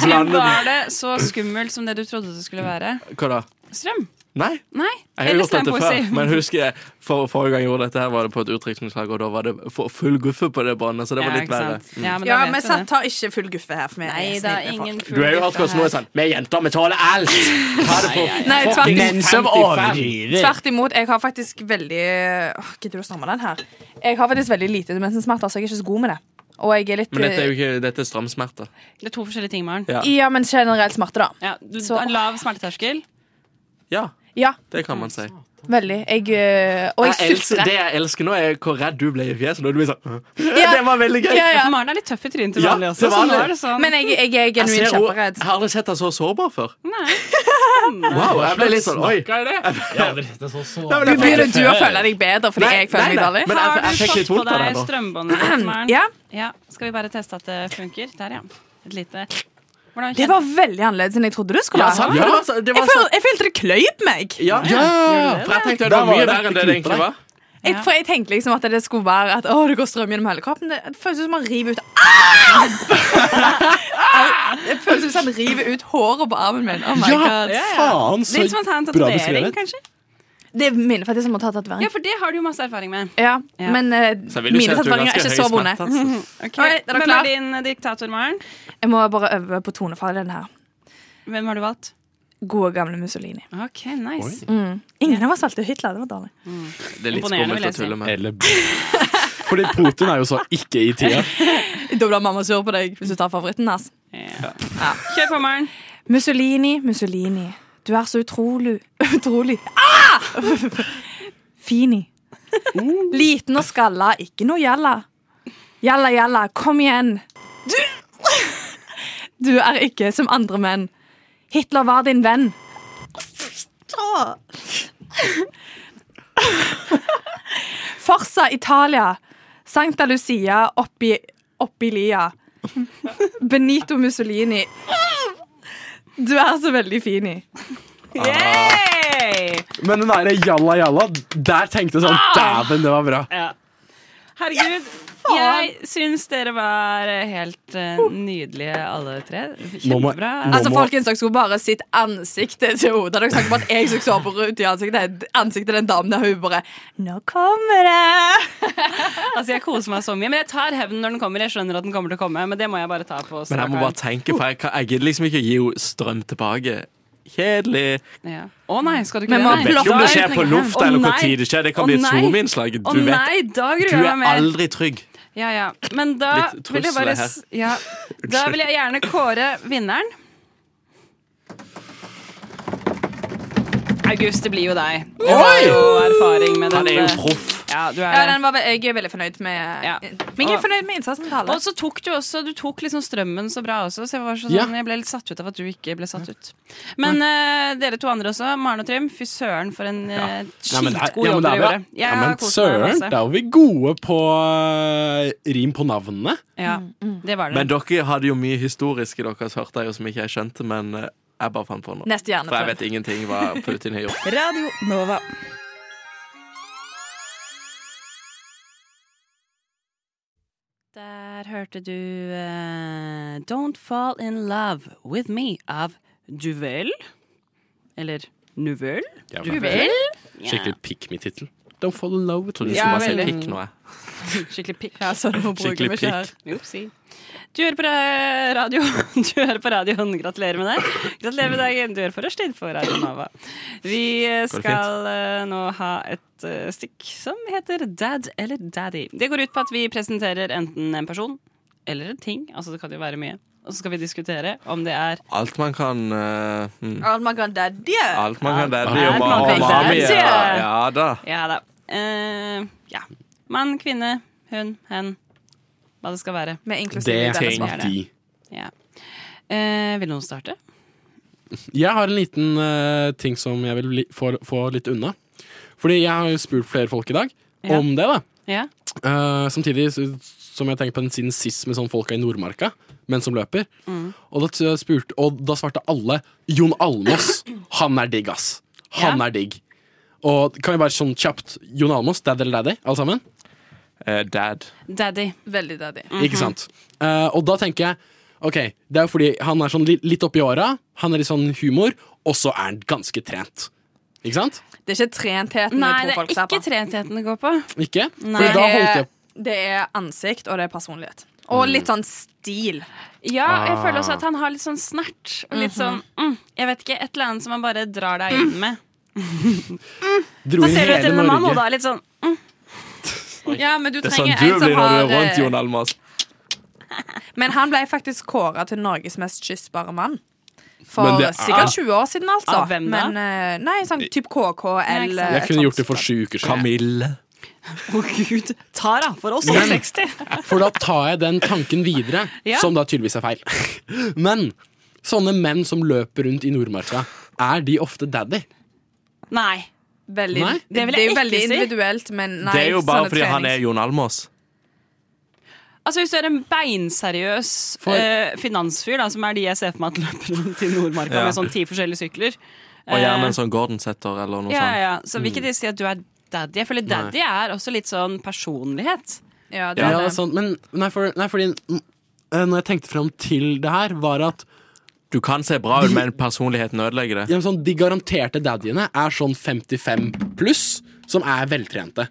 S2: Men du,
S8: Blande
S2: var det så skummelt som det du trodde det skulle være?
S8: Hva da?
S2: Strøm?
S8: Nei.
S2: Nei.
S8: Jeg har
S2: Eller
S8: gjort dette før,
S2: slampoesi.
S8: men husker jeg for, forrige gang jeg gjorde dette, her var det på et utdrikningslag, og da var det for, full guffe på det båndet, så det var
S2: Ja,
S8: litt
S2: ikke
S8: verre.
S2: sant.
S8: Mm.
S2: Ja, men da
S5: Ja,
S2: vet
S5: men
S2: du
S5: sant,
S2: det.
S5: ta ikke full guffe her, for vi
S2: Nei,
S5: er
S2: det er
S5: snille folk.
S2: ingen
S8: Du er jo hardcore som nå er sånn Vi jenter, vi tåler alt! Ta det på
S5: Nei, tvert
S8: fucking
S5: imot.
S8: 55.
S5: Tvert imot. Jeg har faktisk veldig Åh, Gidder du å stramme den her? Jeg har faktisk veldig lite mensensmerter, så jeg er ikke så god med det. Og jeg er litt eh,
S8: Men dette er jo ikke Dette er stramsmerter.
S2: Det er to forskjellige ting, Maren.
S8: Ja.
S5: Ja, men generelt smerte, da.
S2: Ja, du, en lav smerteterskel.
S8: Ja,
S5: Ja,
S8: det kan man si.
S5: veldig. Jeg øh, Og jeg,
S8: Jeg elsker,
S5: sulter.
S8: det jeg elsker nå, er hvor redd du ble i fjeset når du blir sånn
S5: Ja.
S8: *laughs* Det var veldig gøy!
S5: Ja, ja.
S2: For Maren er litt tøff i trynet til
S8: Ja,
S2: vanlig også.
S8: til vanlig.
S2: Så nå er det sånn
S5: Men jeg, jeg er
S8: Jeg,
S5: genuint
S8: ser, hun-
S5: kjemperedd.
S8: jeg har aldri sett deg så sårbar før.
S2: Nei.
S8: *laughs* Wow, jeg ble litt sånn oi. sånn
S5: Du begynner du å føle deg bedre fordi
S8: Nei,
S5: jeg føler
S8: nei,
S5: meg
S8: nei,
S5: dårlig?
S8: men altså, jeg-
S2: Har
S8: jeg
S2: du
S8: fikk litt
S2: fått på
S8: vondt av
S2: deg
S8: det nå.
S2: strømbåndet ditt, Maren?
S5: Ja.
S2: ja. Skal vi bare teste at det funker? Der, ja. Et lite Hvordan
S5: Det var veldig annerledes enn jeg trodde det skulle
S8: Ja,
S5: være.
S8: sant? Ja, det var så- det var
S5: jeg, føl, jeg følte det kløyv meg.
S8: Ja,
S5: Ja.
S8: For jeg tenkte det
S6: Da
S8: var
S6: var
S8: mye
S6: det
S8: verre enn det det egentlig var.
S5: Jeg, for jeg tenkte liksom at det skulle være at å, det går strøm gjennom hele kroppen. Det, det føles ut som man river ut *laughs* ah! Det føles ut som man river ut håret på armen min. Oh my
S6: Ja,
S5: God.
S6: faen, så
S2: Litt som å ta en
S6: bra
S2: tatovering,
S6: beskrevet.
S2: kanskje?
S5: Det minner faktisk om å ta tatovering.
S2: Ja, for det har du jo masse erfaring med.
S5: Ja, men eh,
S8: Så jeg vil jo si
S5: mine
S8: at du er
S5: tatoveringer er
S8: ganske
S5: ikke så
S8: høy
S5: vonde.
S8: smerte, altså.
S2: Ok,
S5: Oi, er dere
S2: Hvem
S5: klar?
S2: er din eh, diktator, Maren?
S5: Jeg må bare øve på tonefallet i den her.
S2: Hvem har du valgt?
S5: Gode, gamle Mussolini.
S2: Ok, nice.
S5: Mm. Ingen av oss valgte Hitler. Det var dårlig.
S8: Det er litt
S2: Imponerende, vil
S8: skummelt
S2: jeg
S8: å tulle med.
S6: Fordi Putin er jo så ikke i tida.
S5: Da blir mamma sur på deg hvis du tar favoritten hans.
S2: Kjør på, Maren.
S5: Mussolini, Mussolini, du er så utrolig *laughs* Utrolig ah! Fini. Liten og skalla, ikke noe gjalla. Gjalla, gjalla, kom igjen. Du Du er ikke som andre menn. Hitler var din venn. Forsa Italia. Sankta Lucia oppi, oppi lia. Benito Mussolini. Du er så veldig fin i.
S2: Yay!
S6: Men den derre jalla jalla, der tenkte jeg sånn
S5: Ah!
S6: Dæven, det var bra.
S2: Ja. Herregud. Jeg syns dere var eh, helt eh, nydelige, alle tre.
S6: Nå må-
S2: Kjempebra.
S6: nå
S5: Altså,
S6: må-
S5: folkens, dere skulle bare sitt ansiktet til hodet. Dere snakket om at jeg skulle sove ut i ansiktet. Ansiktet til den damen der hun bare Nå kommer det!
S2: Altså, Jeg koser meg så mye, men jeg tar hevnen når den kommer. Jeg skjønner at den kommer til å komme, men det må jeg bare ta på
S8: Men jeg må
S2: strak
S8: bare
S2: arm.
S8: tenke, for jeg, kan, jeg gidder liksom ikke å gi henne strøm tilbake. Kjedelig.
S2: Ja. Å nei, skal du ikke
S5: Men
S8: Jeg vet ikke om det skjer på luft
S2: Å
S8: eller hvor
S2: nei.
S8: tid det skjer. Det
S2: Å
S8: kan bli et
S2: nei.
S8: zoom-innslag.
S2: Å
S8: Du vet,
S2: nei, da
S8: du
S2: gruer jeg
S8: er
S2: meg mer.
S8: aldri trygg.
S2: Ja, ja. Men da
S8: Litt
S2: vil jeg
S8: trusler
S2: bare
S8: her.
S2: s- ja. Da vil jeg gjerne kåre vinneren. August, det blir jo deg. Du har jo erfaring med
S8: Han er jo
S2: dette.
S8: proff.
S2: Ja, du
S5: Ja,
S2: er det.
S5: den var, jeg er veldig fornøyd med
S2: Ja.
S5: Men jeg er fornøyd med innsatsen til alle.
S2: Og så tok du også Du tok liksom strømmen så bra også, så jeg, var så
S6: Ja.
S2: sånn, jeg ble litt satt ut av at du ikke ble satt ut. Men eh, dere to andre også, Maren og Trym, fy søren for en eh,
S6: Ja, men det er-
S2: skitgod jobb
S6: ja, men det er
S2: dere gjorde.
S6: bra.
S2: Jeg
S6: Ja,
S2: har
S6: men
S2: kost meg
S6: søren,
S2: masse.
S6: da var vi gode på eh, rim på navnene.
S2: Ja, det var
S8: Men
S2: dere.
S8: dere hadde jo mye historisk i deres hørte jeg, som ikke jeg skjønte, men eh, jeg bare fant på noe.
S5: Neste
S8: For jeg
S5: hjerneprøve.
S8: vet ingenting hva Putin har gjort.
S12: Radio Nova.
S2: Der hørte du eh, Don't Fall In Love With Me av Duvel. Eller Nuvel?
S6: Ja, men-
S2: Duvel?
S6: Skikkelig pick me-tittel. Don't fall in love.
S8: Tror du
S2: Ja,
S8: skulle bare si
S2: veldig.
S8: pikk nå, jeg.
S2: Skikkelig pikk.
S5: Ja, så nå bruker
S8: Skikkelig
S5: vi ikke her.
S2: Upsi. Du hører på ra- radio. *laughs* Du hører på radioen. Gratulerer med det. Gratulerer med dagen. Du hører på Rushtid på Radio Nova. Vi eh,
S8: Går det
S2: skal eh, nå ha et eh, stikk som heter Dad eller Daddy. Det går ut på at vi presenterer enten en person eller en ting. Altså det kan jo være mye. Og så skal vi diskutere om det er
S8: Alt man kan eh, mm.
S5: Alt man kan daddy.
S8: Alt man kan
S5: Alt
S8: daddy og
S5: man
S8: ma- og
S5: kan
S8: mami.
S5: daddy.
S8: Ja, ja da.
S2: Ja da. Eh, ja. Mann, kvinne, hun, hen. Hva det skal være.
S5: Med
S6: Det tenk de.
S2: Ja. Eh, vil noen starte?
S6: Jeg har en liten eh, ting som jeg vil li få, få litt unna. Fordi jeg har jo spurt flere folk i dag
S2: Ja.
S6: om det, da.
S2: Ja.
S6: Eh, samtidig så- som jeg tenker på den siden sist med sånn folka i Nordmarka, men som løper. Og da, t- spurte, og da svarte alle Jon Almås. *clears throat* Han er digg, ass. Han
S8: Ja.
S6: er digg. Og kan vi bare sånn kjapt Jon Almås, dad eller daddy, alle sammen?
S2: Eh,
S8: dad.
S2: Daddy.
S5: Veldig daddy.
S2: Mhm.
S6: Ikke sant? Eh, og da tenker jeg Ok, det er jo fordi han er sånn li litt oppi åra, han er litt sånn humor, og så er han ganske trent. Ikke sant?
S5: Det er ikke trentheten
S2: Nei,
S5: vi
S2: det er
S5: påfolkser
S2: ikke trentheten det går på.
S6: Ikke?
S5: Nei.
S6: For da
S5: Det
S6: holdt
S5: er,
S6: jeg
S5: det er ansikt, og det er personlighet. Og litt sånn stil.
S2: Ja, jeg
S6: Ah.
S2: føler også at han har litt sånn snert. Og litt sånn mm, Jeg vet ikke, et eller annet som han bare drar deg inn med.
S6: dro
S2: Da
S6: i
S2: ser du etter
S6: hele
S2: en mann, og da
S6: Norge.
S2: er litt sånn mm.
S5: Ja, men du
S8: Det er sånn
S5: trenger en
S8: du blir
S5: som
S8: når
S5: har
S8: du er rundt,
S5: eh,
S8: Jon Almaas.
S5: Men han ble faktisk kåra til Norges mest kyssbare mann. For
S6: Men det er-
S5: sikkert 20 år siden, altså.
S2: Av hvem da?
S5: Men, eh, nei, sånn type
S2: Nei,
S5: KKL.
S2: ikke
S6: Jeg kunne gjort det for sju uker siden.
S8: Camille.
S2: Å gud, Tara for oss
S6: Men-
S2: 60.
S6: For da tar jeg den tanken videre,
S2: Ja.
S6: som da tydeligvis er feil. Men sånne menn som løper rundt i Nordmarka, er de ofte daddy?
S2: Nei.
S5: Veldig,
S6: Nei?
S5: Det,
S2: Det vil
S5: er jo
S2: jeg
S5: veldig
S2: ikke si.
S5: individuelt, men nei.
S8: det er jo bare
S5: sånne
S8: fordi han
S5: trenings-
S8: er Jon Almaas.
S2: Altså Hvis du er en beinseriøs
S8: For-
S2: eh, finansfyr, da, som er de jeg ser for meg at løper rundt i Nordmarka
S8: Ja.
S2: med sånn ti forskjellige sykler
S8: Og gjerne
S2: eh,
S8: en sånn Gordon-setter eller noe
S2: ja,
S8: sånt.
S2: ja, Så
S8: Mm.
S2: vil ikke de si at du er daddy. Jeg føler daddy er også litt sånn personlighet.
S5: Ja,
S6: Ja, det er sant. Men nei, for, nei, fordi mm, eh, når jeg tenkte fram til det her, var at
S8: Du kan se bra ut, men personligheten ødelegger det.
S6: ja, men sånn, de garanterte daddyene er sånn 55 pluss, som er veltrente.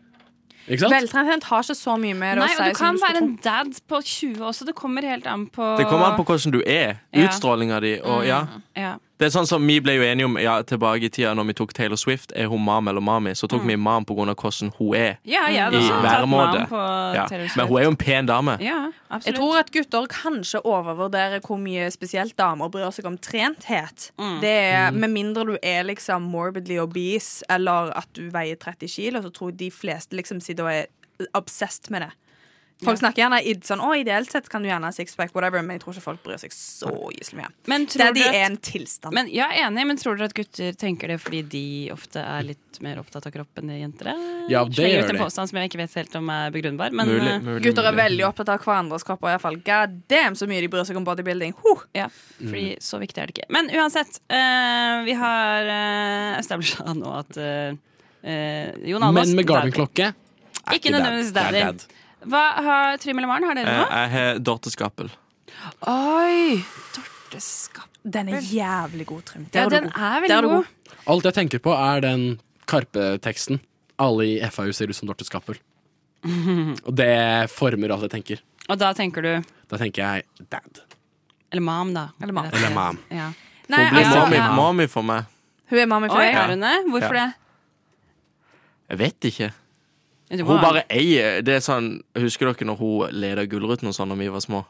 S6: Ikke sant?
S5: Veltrent har ikke så mye mer
S2: Nei,
S5: å si.
S2: og du
S5: som
S2: kan
S5: skulle
S2: være en dad på 20 også. Det kommer helt an på
S8: Det kommer an på hvordan du er.
S2: Ja. Mm.
S8: Utstrålinga di og ja.
S2: ja.
S8: Det er sånn som Vi ble jo enige om ja, tilbake i tida når vi tok Taylor Swift. Er hun mam eller mami? Så tok vi mam pga. hvordan hun er.
S2: Mm. Ja, jeg hadde
S8: I
S2: også tatt
S8: væremåte.
S2: mam på
S8: Ja.
S2: Taylor Swift.
S8: Men hun er jo en pen dame.
S5: Jeg tror at gutter kanskje overvurderer hvor mye spesielt damer bryr seg om trenthet. Det er, Med mindre du er liksom morbidly obese eller at du veier 30 kilo, så tror jeg de fleste liksom sitter og er obsessed med det. Folk
S2: Ja.
S5: snakker gjerne i- sånn, å, ideelt sett kan du gjerne ha sixpack, whatever, men jeg tror ikke folk bryr seg så gyselig mye.
S2: Men tror
S5: Daddy
S2: du at-
S5: er en tilstand.
S2: Men jeg er enig, men tror dere at gutter tenker det fordi de ofte er litt mer opptatt av kroppen enn jenter er?
S6: Ja, det
S2: Slenger
S6: gjør
S2: ut en
S6: de.
S2: påstand som jeg ikke vet helt om er begrunnbar, men
S6: Mulig,
S2: eh,
S6: mulig,
S5: gutter er veldig opptatt av hverandres kropper, iallfall. God damn, så mye de bryr seg om bodybuilding. Huh.
S2: Ja,
S6: Mm.
S2: fordi så viktig er det ikke. Men uansett, eh, vi har uh, establisha *laughs* nå at eh, eh, Jon Almaas
S6: Menn med Garmin-klokke
S2: Ikke,
S6: ikke
S2: nødvendigvis
S6: dad. Det
S2: daddy.
S6: er
S2: Hva har Trym eller Maren? Har
S8: Eh,
S2: dere noe?
S8: Jeg har Dorte Skappel.
S5: Oi! Dorteskap. Den er jævlig god, Trym. Der
S2: Ja,
S5: er du
S2: den
S5: god.
S2: er
S5: Der
S2: veldig
S5: du
S2: god.
S6: Alt jeg tenker på, er den Karpe-teksten. Alle i FAU ser ut som Dorte Skappel. Og det former alt jeg tenker.
S2: Og da tenker du
S6: Da tenker jeg dad.
S2: Eller mam, da. Eller mam.
S6: Eller mam.
S2: Ja.
S5: Nei,
S8: Hun blir
S5: altså-
S8: mommy,
S5: Ja.
S8: mommy for meg.
S5: Hun er mamma for
S2: Oi,
S5: deg.
S2: er hun det? Hvorfor
S8: Ja.
S2: det?
S8: Jeg vet ikke.
S2: Ja, du
S8: Hun
S2: må-
S8: bare eier Det er sånn Husker dere når hun leda Gullruten og sånn da vi var små?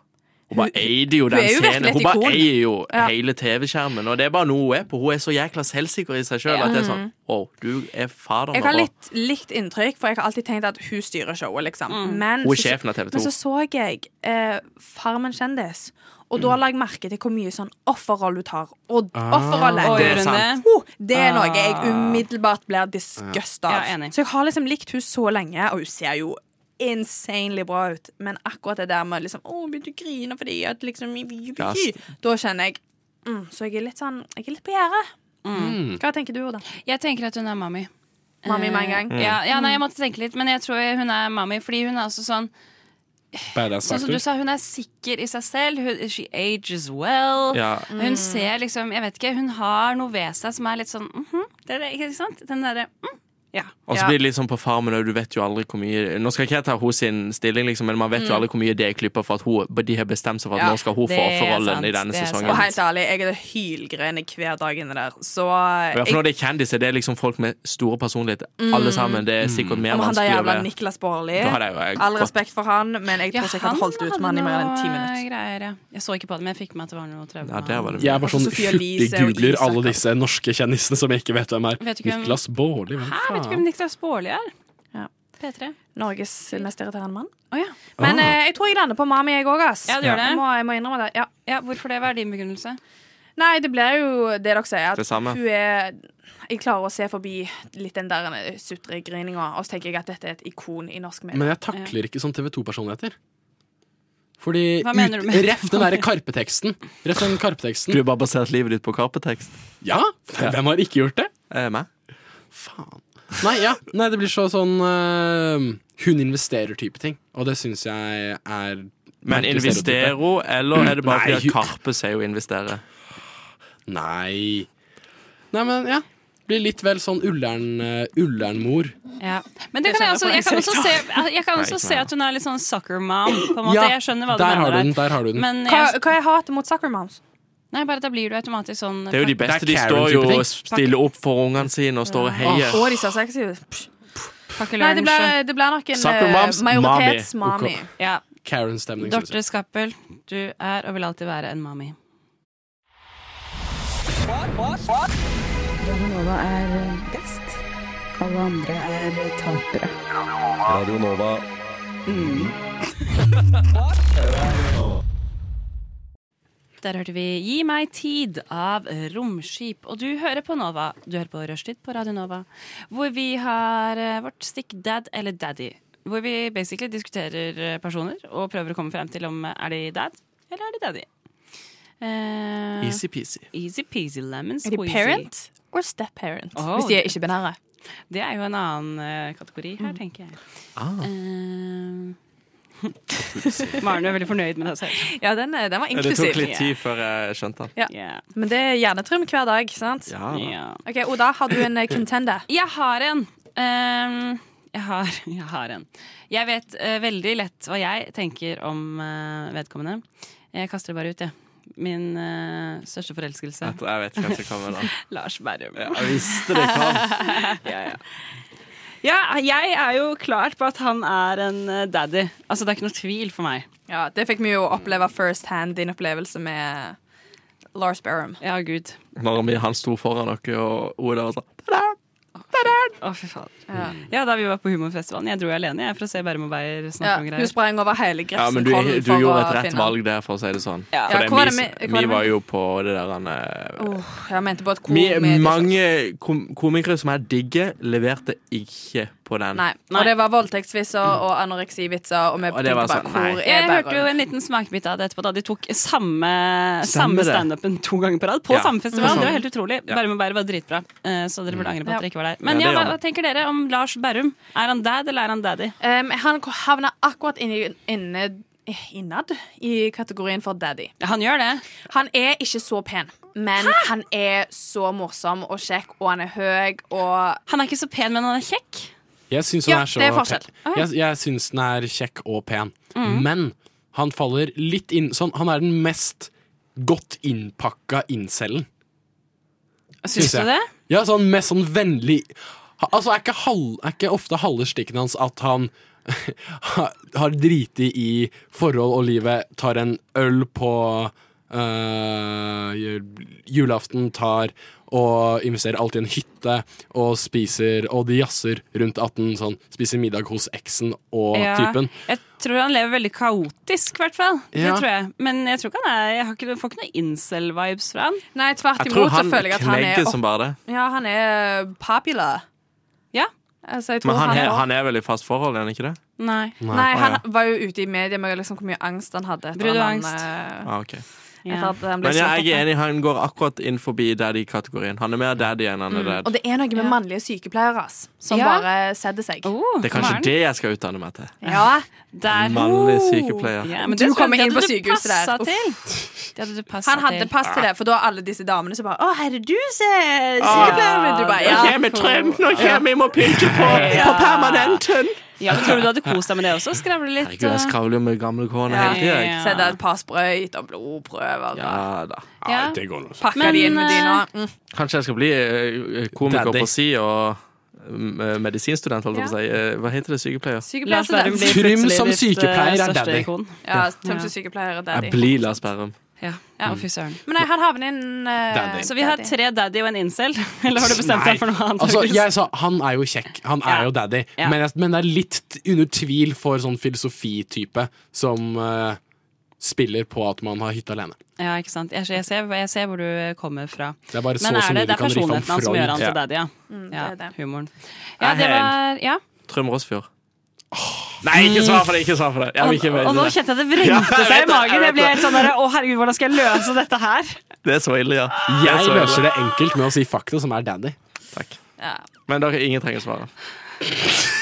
S8: Hun bare eide jo
S5: Hun
S8: den
S5: er jo virkelig
S8: scenen.
S5: et
S8: Hun bare
S5: ikon.
S8: eier jo
S5: Ja.
S8: hele TV-skjermen, og det er bare noe hun er på. Hun er så jækla selvsikker i seg sjøl
S5: Ja.
S8: at det er sånn
S5: Mhm.
S8: Wow, du er faderen
S5: Jeg har
S8: over.
S5: litt likt inntrykk, for jeg har alltid tenkt at hun styrer showet. liksom
S2: Mm.
S5: men,
S8: Hun er
S5: så-
S8: sjefen av TV 2.
S5: Men så så jeg eh, Farmen kjendis, og da la jeg merke til hvor mye sånn offerrolle hun tar. Og
S8: Ah.
S5: offerrolle
S8: Å, gjør hun det?
S5: Oh, det er noe jeg
S2: Ah.
S5: umiddelbart blir disgust av.
S2: Ja, enig.
S5: så jeg har liksom likt hun så lenge, og hun ser jo insanely bra ut, men akkurat det der med liksom Å, begynte å grine fordi at liksom
S8: Ja,
S5: Da kjenner jeg mm, Så jeg er litt sånn Jeg er litt på gjerdet.
S2: Mm.
S5: Hva tenker du, Oda?
S2: Jeg tenker at hun er mami.
S5: Mami med en gang?
S8: Mm.
S2: Eh, Ja, ja, nei, jeg måtte tenke litt, men jeg tror hun er mami, fordi hun er også sånn Sånn som du sa, hun er sikker i seg selv. Hun, she ages well.
S8: Ja.
S2: Hun mm-hmm, ser liksom, jeg vet ikke, hun har noe ved seg som er litt sånn mhm, det er det, Ikke sant? Den derre mm, Ja.
S8: Og så blir det litt sånn på farmen og du vet jo aldri hvor mye Nå skal ikke jeg ta hun sin stilling, liksom, men man vet jo
S5: Mm.
S8: aldri hvor mye det er klipper for at hun, de har bestemt seg for at
S5: Ja,
S8: nå skal hun få
S5: det er
S8: offerrollen
S5: sant,
S8: i denne
S5: det er
S8: sesongen.
S5: sant. Og helt ærlig, jeg er det hylgrene hver dag inne der. Så eh,
S8: Og i hvert fall når det er kjendiser, det er liksom folk med store personligheter.
S5: Mm.
S8: Alle sammen. Det er sikkert mer
S5: om han der
S8: vanskelig å
S5: jævla
S8: være
S5: Niklas Baarli.
S8: Da hadde jeg jo, jeg,
S5: All
S8: gått-
S5: respekt for han, men jeg tror ikke jeg hadde holdt ut med han i mer enn ti minutter.
S2: Greier, ja. Jeg så ikke på det, men jeg fikk med meg at det var noe traume.
S8: Ja, det var det.
S6: Jeg er bare sånn
S2: Sophie Altså, Elise og
S6: hurtig-googler
S2: Isak,
S6: alle disse norske kjendisene som jeg ikke vet hvem er.
S2: Vet du ikke hvem-
S6: Niklas Baarli, hvem
S2: Hæ, vet du
S6: faen?
S2: hvem Niklas Baarli er? P3.
S5: Norges mest irriterende mann.
S2: ja.
S5: Men
S6: Ah.
S5: eh, jeg tror jeg lander på Mami, jeg òg, ass.
S2: Ja, du gjør det.
S5: Jeg må, jeg må innrømme det. Ja.
S2: hvorfor det? Hva er din begrunnelse?
S5: Nei, det blir jo det dere sier. At
S8: Det samme.
S5: Hun er Jeg klarer å se forbi litt den der sutregryninga, og så tenker jeg at dette er et ikon i norsk medie.
S6: Men jeg takler ikke sånn TV2-personligheter. Fordi
S5: Hva mener
S6: ut,
S5: du med-
S6: Ref
S2: *laughs*
S6: den derre Karpe-teksten. Ref den Karpe-teksten.
S8: Du har bare basert livet ditt på karpetekst.
S6: Ja! Hvem har ikke gjort det?
S8: Eh, meg.
S6: Nei, ja. Nei, det blir så sånn eh, Hun investerer-type ting. Og det syns jeg er
S8: Men
S6: merkelig
S8: investerer
S6: stereotype.
S8: hun, eller er det bare
S6: Nei,
S8: fordi at
S6: hun-
S8: Karpe sier hun investerer?
S6: Nei. Nei, men ja. Blir litt vel sånn ullern, eh, Ullern-mor.
S2: Ja. Men det
S5: Det
S2: kan
S5: skjønner
S2: jeg, også,
S5: jeg
S2: jeg kan
S5: for
S2: også
S5: meg
S2: se,
S5: selv, da.
S2: jeg kan
S6: Nei,
S2: også
S6: ikke
S2: se
S6: meg.
S2: at hun er litt sånn sucker mom, på en måte.
S6: Ja,
S2: jeg skjønner hva du
S6: der
S2: mener
S6: har du den, der har du den.
S2: Men
S5: Hva,
S2: jeg,
S5: hva er hatet mot Sucker Moms?
S2: nei, bare da blir du automatisk sånn
S8: Det er jo de beste. De står jo og stiller opp for ungene sine og står og heier.
S5: Og de ser sexy ut. Pff. Nei, det blir,
S2: lunsj.
S5: det blir nok en
S8: Sucker
S5: eh,
S8: moms,
S5: majoritets-mami.
S8: mami. Ok.
S2: Ja.
S6: Karen-stemning. synes jeg.
S2: Dorte Skappel, du er og vil alltid være en mami.
S12: Radio Nova er best. Alle andre er tapere.
S15: Radio Nova.
S2: Der hørte vi 'Gi meg tid' av Romskip. Og du hører på Nova. Du hører på Rushtid på Radio Nova, hvor vi har eh, vårt stikk dad eller daddy. Hvor vi basically diskuterer eh, personer og prøver å komme frem til om eh, er de dad eller er de daddy. Eh,
S8: Easy-peasy.
S2: Easy-peasy lemon
S5: Er de
S2: squeezy.
S5: parent or step-parent?
S2: Oh,
S5: hvis de er
S2: det-
S5: ikke-binære.
S2: Det er jo en annen eh, kategori her, tenker jeg.
S8: Ah.
S2: Eh, *laughs* Maren du er veldig fornøyd med deg selv.
S5: Ja, den, eh, den var
S8: Det
S5: inklusiv.
S8: tok litt tid før jeg skjønte den.
S5: Ja. Men det er hjernetrym hver dag, ikke sant?
S8: Ja, Ah, da.
S5: OK, Oda, har du en eh, contender?
S2: Jeg har en. Ehm, jeg, har, *laughs* jeg har en. Jeg vet eh, veldig lett hva jeg tenker om eh, vedkommende. Jeg kaster det bare ut, jeg. Min eh, største forelskelse.
S8: Jeg tror- jeg vet ikke hvem som kommer da.
S2: *laughs* Lars Berrum.
S8: Ja, *laughs* jeg visste det kom.
S2: ja, ja. ja, jeg er jo klart på at han er en eh, daddy. Altså, det er ikke noe tvil for meg.
S5: *laughs* Ja, Det fikk vi jo oppleve first hand, din opplevelse med Lars Berrum.
S2: Ja, gud.
S8: Når vi- han sto foran dere, og Oda var sånn
S2: Å, fy faen. Ja. da vi var på Humorfestivalen. Jeg dro jo alene jeg, for å se Bærum og Beyer snakke
S5: Ja,
S2: om
S5: hun
S2: greier.
S5: sprang over hele
S8: Ja, men du,
S5: Grefsenkollen
S8: du
S5: for
S8: gjorde
S5: å
S8: et rett
S5: finne
S8: valg der, for å si det sånn.
S5: Ja.
S8: For
S5: Ja,
S8: det,
S5: hva var det
S8: vi,
S5: med- hva var
S8: vi
S5: det
S8: var
S5: med-
S8: jo på det der han, eh,
S5: Åh, jeg mente på et
S8: vi,
S5: komedie.
S8: Mange kom komikere som jeg digger, leverte ikke på den.
S5: Nei. Og det var voldtektsvitser og anoreksivitser, og vi
S8: Mm. Og det
S5: tenkte bare
S8: var sånn,
S5: hvor
S8: nei.
S5: er
S2: Jeg hørte jo
S5: Berrum?
S2: en liten smakebit av det etterpå, da de tok samme,
S8: Stemmer
S2: samme
S8: det.
S2: standupen to ganger på rad. På
S8: Ja.
S2: samme festival!
S8: Mm.
S2: Det var helt utrolig.
S8: Ja. Mm.
S2: Bærum og Beyer var dritbra, eh, så dere burde angre på at
S5: Ja.
S2: dere ikke var der.
S8: Ja,
S2: Men
S8: det
S2: ja,
S8: gjør
S2: hva, hva
S8: man.
S2: tenker dere om Lars Berrum? Er han dad, eller er han daddy?
S5: Um, han ko- havna akkurat inni, inne, innad i kategorien for daddy.
S2: Han gjør det.
S5: Han er ikke så pen, men han er så morsom og kjekk, og han er høy og
S2: Han er ikke så pen, men han er kjekk.
S6: Jeg syns
S5: Ja,
S6: han er så
S5: det er forskjell.
S6: pen. Jeg, jeg syns den er kjekk og pen.
S5: Mhm.
S6: Men han faller litt inn sånn, Han er den mest godt innpakka incelen.
S2: Syns
S6: jeg.
S2: du det?
S6: Ja, sånn mest sånn vennlig Ha- Altså, er ikke, hal, er ikke ofte halve stikken hans at han *laughs* ha- har driti i forhold og livet, tar en øl på øh, ju- julaften, tar og investerer alltid i en hytte og spiser Og de jazzer rundt at han sånn, spiser middag hos eksen og
S2: Ja.
S6: typen.
S2: Jeg tror han lever veldig kaotisk, i hvert fall. Det
S6: Ja.
S2: tror jeg. Men jeg tror ikke han er Jeg har ikke, får ikke noen incel-vibes fra han.
S5: Nei, tvert
S8: Jeg tror
S5: imot så
S8: han
S5: føler jeg at han er
S8: knegger som bare det.
S5: Ja, han er eh, popular.
S2: Ja.
S5: Altså, jeg tror
S8: Men han, er,
S5: er
S8: han er vel i fast forhold, er han ikke det?
S2: Nei.
S5: Nei,
S8: Å,
S5: han
S8: ja.
S5: var jo ute i media med liksom hvor mye angst han hadde. etter
S2: Brud og
S5: han,
S2: angst.
S5: eh,
S8: Ah, ok.
S5: Etter at han ble
S8: Men ja,
S5: slått
S8: jeg er
S5: opp.
S8: enig, han går akkurat inn forbi daddy-kategorien. Han er mer daddy enn han er
S5: Mm. Og
S8: dad.
S5: det er noe med mannlige sykepleiere ass, som
S2: Ja.
S5: bare setter seg.
S8: Det er kanskje det jeg skal utdanne meg til.
S5: Ja,
S2: der.
S8: Mannlig sykepleier.
S2: Ja, men
S5: Du
S2: det tror jeg-
S5: kommer
S2: det
S5: inn på
S2: hadde du
S5: sykehuset der.
S2: passet
S5: Uff.
S2: til. Det hadde du passet
S5: Han hadde
S2: til.
S5: pass til det, for da er alle disse damene som bare Å, herre du ser
S8: Ah,
S5: sykepleier ut. Du bare
S8: Nå
S5: ja.
S8: kommer Trump, nå kommer jeg må pynte på, på permanenten!
S2: Ja, men Tror du du hadde kost deg med det også? Skravle litt?
S8: Herregud, jeg skravler jo med gamle kone hele tida, jeg.
S5: Sett et par sprøyt og blodprøver.
S8: Ja da.
S2: Ja.
S8: det går nå.
S5: Pakker de inn med de nå. Mm.
S8: Kanskje jeg skal bli eh, komiker
S6: Daddy.
S8: på si og eh, medisinstudent, holdt jeg på å si. Eh, Hva heter det? Sykepleier?
S5: Mm.
S2: Lars Berrum blir
S8: Trym
S2: plutselig
S8: som
S2: ditt, eh,
S8: sykepleier er
S2: største
S8: daddy.
S2: ikon.
S5: Ja, Trym som sykepleier er daddy.
S8: Jeg blir Lars Berrum.
S2: Ja, ja. Å, fy søren.
S5: Men nei, han havner inn eh,
S6: Daddy.
S2: Så vi har tre Mm. daddy og en incel? *laughs* Eller har du bestemt
S6: Nei.
S2: deg for noe annet?
S6: Altså,
S2: Markus?
S6: jeg sa han er jo kjekk. Han er jo daddy.
S2: Ja.
S6: Men, jeg, men det er litt t- under tvil for sånn filosofitype som eh, spiller på at man har hytte alene.
S2: Ja, ikke sant. Jeg, jeg, ser, jeg ser hvor du kommer fra.
S6: Det er
S2: Men
S6: bare så
S2: er
S6: så mye
S2: det,
S6: du
S2: det er
S6: kan riffe om
S2: personligheten hans som
S6: Freud.
S2: gjør han
S6: Ja.
S2: til daddy, ja. ja Humoren. Ja,
S8: Jeg
S2: det
S8: er
S2: var Ja.
S8: Trym Rossfjord. Nei, ikke svar for det! Ikke svar for det. Jeg vil ikke
S2: Og nå
S8: vite det.
S2: kjente jeg det
S8: Ja,
S2: vrengte
S8: jeg
S2: seg i
S8: vet det, jeg
S2: magen.
S8: vet
S2: Jeg ble
S8: det.
S2: helt sånn der, Å herregud, hvordan skal jeg løse dette her?
S8: Det er så ille, ja. Det er
S6: Jeg
S8: så ille.
S6: løser det enkelt med å si fakta, som er daddy.
S8: Takk.
S5: Ja.
S8: Men dere, ingen trenger svare.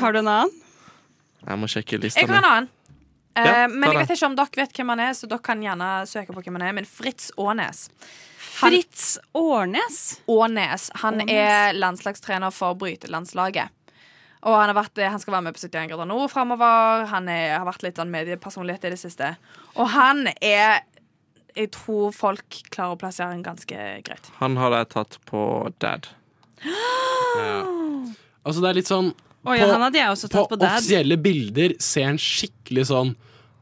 S2: Har du en annen?
S8: Jeg må sjekke
S5: Jeg
S8: lista
S5: har en annen. Eh,
S8: Ja,
S5: men
S8: ta
S5: jeg
S8: den.
S5: vet ikke om dere vet hvem han er, så dere kan gjerne søke på hvem han er. Men Fritz Aanes. Han-
S2: Fritz Årnes?
S5: Aanes. Han
S2: Aanes.
S5: er landslagstrener for brytelandslaget. Og han, har vært, eh, han skal være med på 71 grader nord framover. Han er, har vært litt sånn mediepersonlighet i det siste. Og han er Jeg tror folk klarer å plassere han ganske greit.
S8: Han hadde jeg tatt på dad.
S6: Altså, det er litt sånn
S2: Å ja, han hadde jeg også tatt på dad.
S6: offisielle bilder ser han skikkelig sånn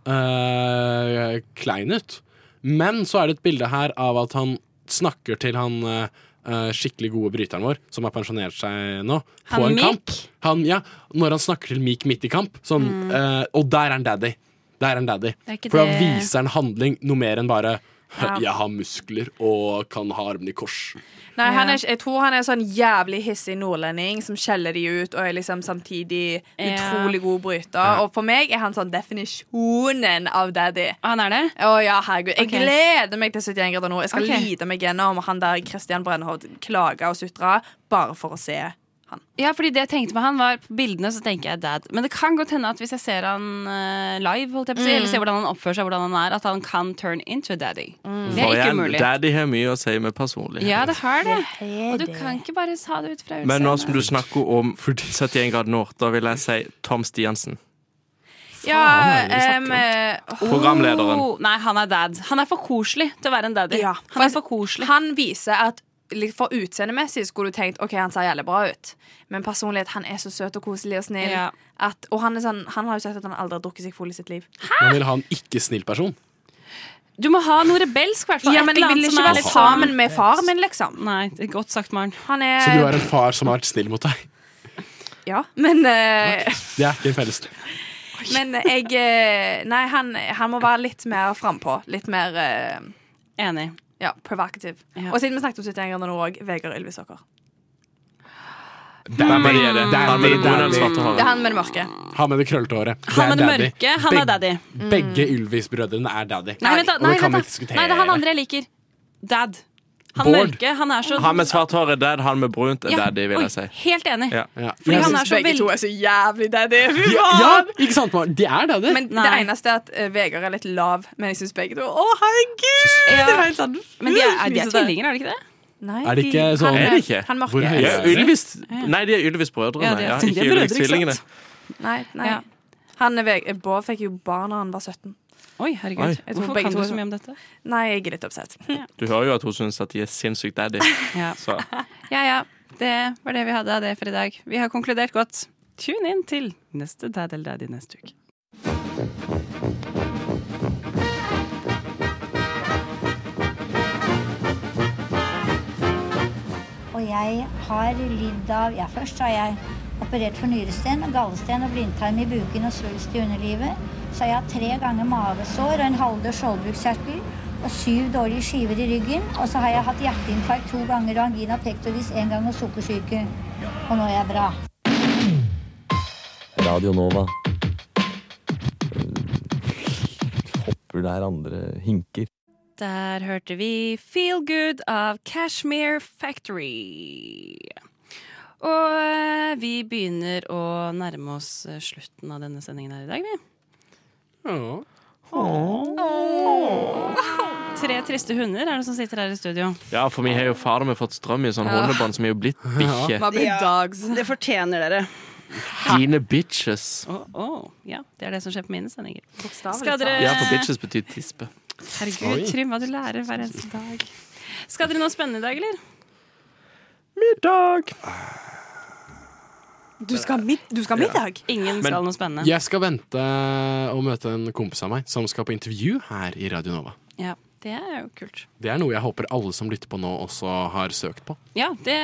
S6: øh, klein ut. Men så er det et bilde her av at han snakker til han øh, øh, skikkelig gode bryteren vår, som har pensjonert seg nå, på
S2: Han
S6: en
S2: Meek?
S6: kamp. Han, ja, når han snakker til Meek midt i kamp, sånn
S2: Mm.
S6: øh, Og der er han daddy. Der er han daddy.
S2: Det er ikke
S6: For da
S2: det-
S6: viser han handling noe mer enn bare
S5: Ja.
S6: 'jeg har muskler og kan ha armene i kors'.
S5: Nei, han er, ikke- jeg tror han er sånn jævlig hissig nordlending som skjeller de ut og er liksom samtidig utrolig god bryter. Og for meg er han sånn definisjonen av daddy.
S2: Ah, Han er det?
S5: Å ja, herregud. Jeg
S2: Ok.
S5: gleder meg til 71 grader nå. Jeg skal
S2: Ok.
S5: lide meg gjennom han der Christian Brennhovd klager og sutrer bare for å se.
S2: Ja, fordi det jeg tenkte med han var På bildene så tenker jeg dad Men det kan godt hende at hvis jeg ser han eh, live holdt jeg på å si,
S5: Mm.
S2: Eller ser hvordan han oppfører seg, hvordan han er At han kan turn into a daddy Det
S8: For
S2: er ikke
S8: igjen,
S2: umulig
S8: daddy har mye å si med personlighet.
S2: Ja, det har det Og du kan ikke bare ha det ut fra utseendet
S8: Men nå som du snakker om 71 grader nord, da vil jeg si Tom Stiansen.
S5: Ja,
S2: Faen,
S5: ehm,
S8: Programlederen.
S2: Oh, Nei, han er dad Han er for koselig til å være en daddy
S5: Ja,
S2: Han er for koselig
S5: Han viser at litt for utseendemessig skulle du tenkt Ok, han ser jævlig bra ut, men personlighet, han er så søt og koselig og snill.
S2: Ja.
S5: At, og han, er sånn, han har jo sagt at han aldri har drukket seg full i sitt liv.
S6: Man vil ha en ikke-snill person.
S2: Du må ha noe rebelsk hvertfall
S5: Ja, men jeg vil ikke være sammen med far min, liksom.
S2: Nei, det er godt sagt, Maren
S5: Han er
S2: Eh.
S6: Så du er en far som har vært snill mot deg.
S5: Ja, men eh,
S6: Det er ikke en fellestrekk.
S5: *laughs* Men jeg eh, Nei, han, han må være litt mer frampå. Litt mer eh,
S2: Enig
S5: ja, provocative. Og siden vi snakket om 71 grader nå òg, Vegard Ylvisåker.
S8: Hvem er det? Er det?
S6: Daddy,
S8: Han med det brune
S6: daddy.
S8: eller svarte
S5: Det er
S8: håret.
S5: han med det mørke.
S6: Han med det krøllete håret. Det
S2: Han
S6: er
S2: med det
S6: daddy.
S2: mørke, han er
S6: Beg-
S2: daddy.
S6: Begge Ylvis-brødrene er daddy.
S2: Nei, vent da,
S6: Og
S2: nei,
S6: det kan
S2: vent da.
S6: vi ikke diskutere.
S2: nei, det er han andre jeg liker Dad Han
S8: Bård.
S2: mørke, han er så
S8: Han med svart hår er dad, han med brunt er
S2: Ja,
S8: daddy, vil
S2: oi,
S8: jeg si.
S2: Helt enig.
S8: Ja.
S2: Fordi han er så
S5: Begge to
S2: veldig
S5: er så jævlig *laughs* daddy. Fy
S6: Ja,
S5: faen!
S6: ja, ikke sant, Mar? De er daddy.
S5: Men det eneste er at eh, Vegard er litt lav, men jeg syns begge to Å, herregud!
S2: Ja.
S5: Det var helt sånn
S2: Men de er, er, de
S5: Fy,
S2: er
S5: så det-
S2: tvillinger, er de ikke det?
S5: Nei,
S8: Er det ikke
S5: de-
S8: sånn-
S5: han,
S8: Er det ikke?
S5: Han
S8: Hvor
S5: mørke.
S8: høye er de? Ja, Ylvis- Nei, de er Ylvis-brødrene.
S2: Ja, de er- *laughs*
S8: Ja,
S2: de er brødre,
S8: ikke
S2: ikke
S8: Ylvis-tvillingene.
S5: Nei, nei. Han er Veg- Bård fikk jo barn da han var 17.
S2: Oi, herregud.
S8: Oi.
S5: Jeg tror
S2: Hvorfor
S5: begge
S2: kan
S5: to
S2: du
S5: er
S2: så
S5: sånn.
S2: mye om dette?
S5: Nei, jeg er litt oppsett.
S8: Du hører jo at hun syns at de er sinnssykt
S2: *laughs*
S8: daddy.
S2: Ja.
S8: Så
S2: Ja ja, det var det vi hadde av det for i dag. Vi har konkludert godt. Tune inn til neste Dad eller Daddy neste uke.
S14: Og jeg har lidd av Ja, først har jeg operert for nyresten, gallesten og blindtarm i buken og svulst i underlivet. Så har jeg hatt tre ganger mavesår og en halvdød skjoldbruskkjertel og syv dårlige skiver i ryggen. Og så har jeg hatt hjerteinfarkt to ganger og angina pectoris én gang og sukkersyke. Og nå er jeg bra.
S15: Radio Nova.
S16: håper det er andre hinker.
S2: Der hørte vi Feel Good av Cashmere Factory. Og eh, vi begynner å nærme oss eh, slutten av denne sendingen her i dag, vi. Tre triste hunder er det som sitter her i studio.
S8: Ja, for vi har jo fader meg fått strøm i sånn
S2: Ja.
S8: hundebånd som er jo blitt bikkje.
S2: Ja, Det fortjener dere.
S8: Dine bitches.
S2: Å, å, ja, det er det som skjer på mine sendinger. Skal
S8: Ja,
S2: dere
S8: for bitches betyr tispe.
S2: Herregud,
S8: Oi.
S2: Trym, hva du lærer hver eneste dag. Skal dere noe spennende i dag, eller?
S8: Middag!
S5: Du skal ha mid- du skal ha middag?
S2: Ingen
S6: Men
S2: skal noe spennende.
S6: Jeg skal vente og møte en kompis av meg som skal på intervju her i Radio Nova.
S2: Ja, det er jo kult.
S6: Det er noe jeg håper alle som lytter på nå, også har søkt på.
S2: Ja, det,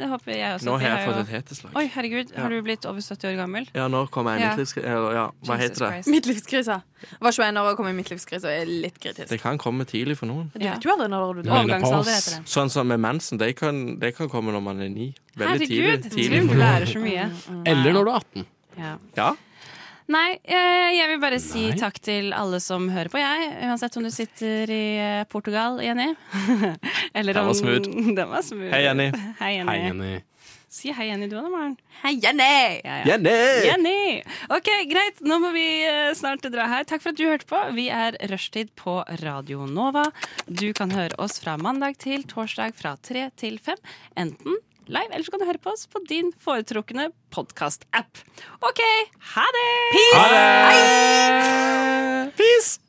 S2: det håper jeg også.
S6: Nå har
S2: Vi
S6: jeg
S2: jo-
S6: fått et heteslag.
S2: Oi, herregud, har
S8: Ja.
S2: du blitt over 70 år gammel?
S8: Ja, nå kommer jeg i
S2: Ja.
S8: midtlivskrise. Eller ja, hva
S2: Jesus
S8: heter det?
S2: Christ.
S5: Midtlivskrisa. Var 21 år og kom i midtlivskrisa. Er litt kritisk.
S8: Det kan komme tidlig for noen.
S5: Du vet jo aldri når du dør.
S8: Sånn som med mensen. Det kan, det kan komme når man er ni. Veldig
S2: Herregud,
S8: tidlig. tidlig
S2: Trym,
S8: for
S2: du
S8: noen.
S2: lærer så mye.
S8: *laughs*
S6: Eller når du er 18.
S2: Ja.
S8: Ja.
S2: Nei, eh, jeg vil bare si takk til alle som hører på, jeg. Uansett om du sitter i eh, Portugal, Jenny. *laughs* Eller
S8: Den
S2: om-
S8: var smooth.
S2: *laughs* Den var smooth.
S8: Hei, Jenny.
S2: Hei, Jenny. Si hei, Jenny, du òg, da, Maren. Hei,
S5: Jenny!
S8: Jenny!
S2: Jenny! Ok, greit. Nå må vi eh, snart dra her. Takk for at du hørte på. Vi er Rushtid på Radio Nova. Du kan høre oss fra mandag til torsdag fra tre til fem. Enten live, eller så kan du høre på oss på din foretrukne podkast-app. OK, ha det!
S8: Ha det! Peace!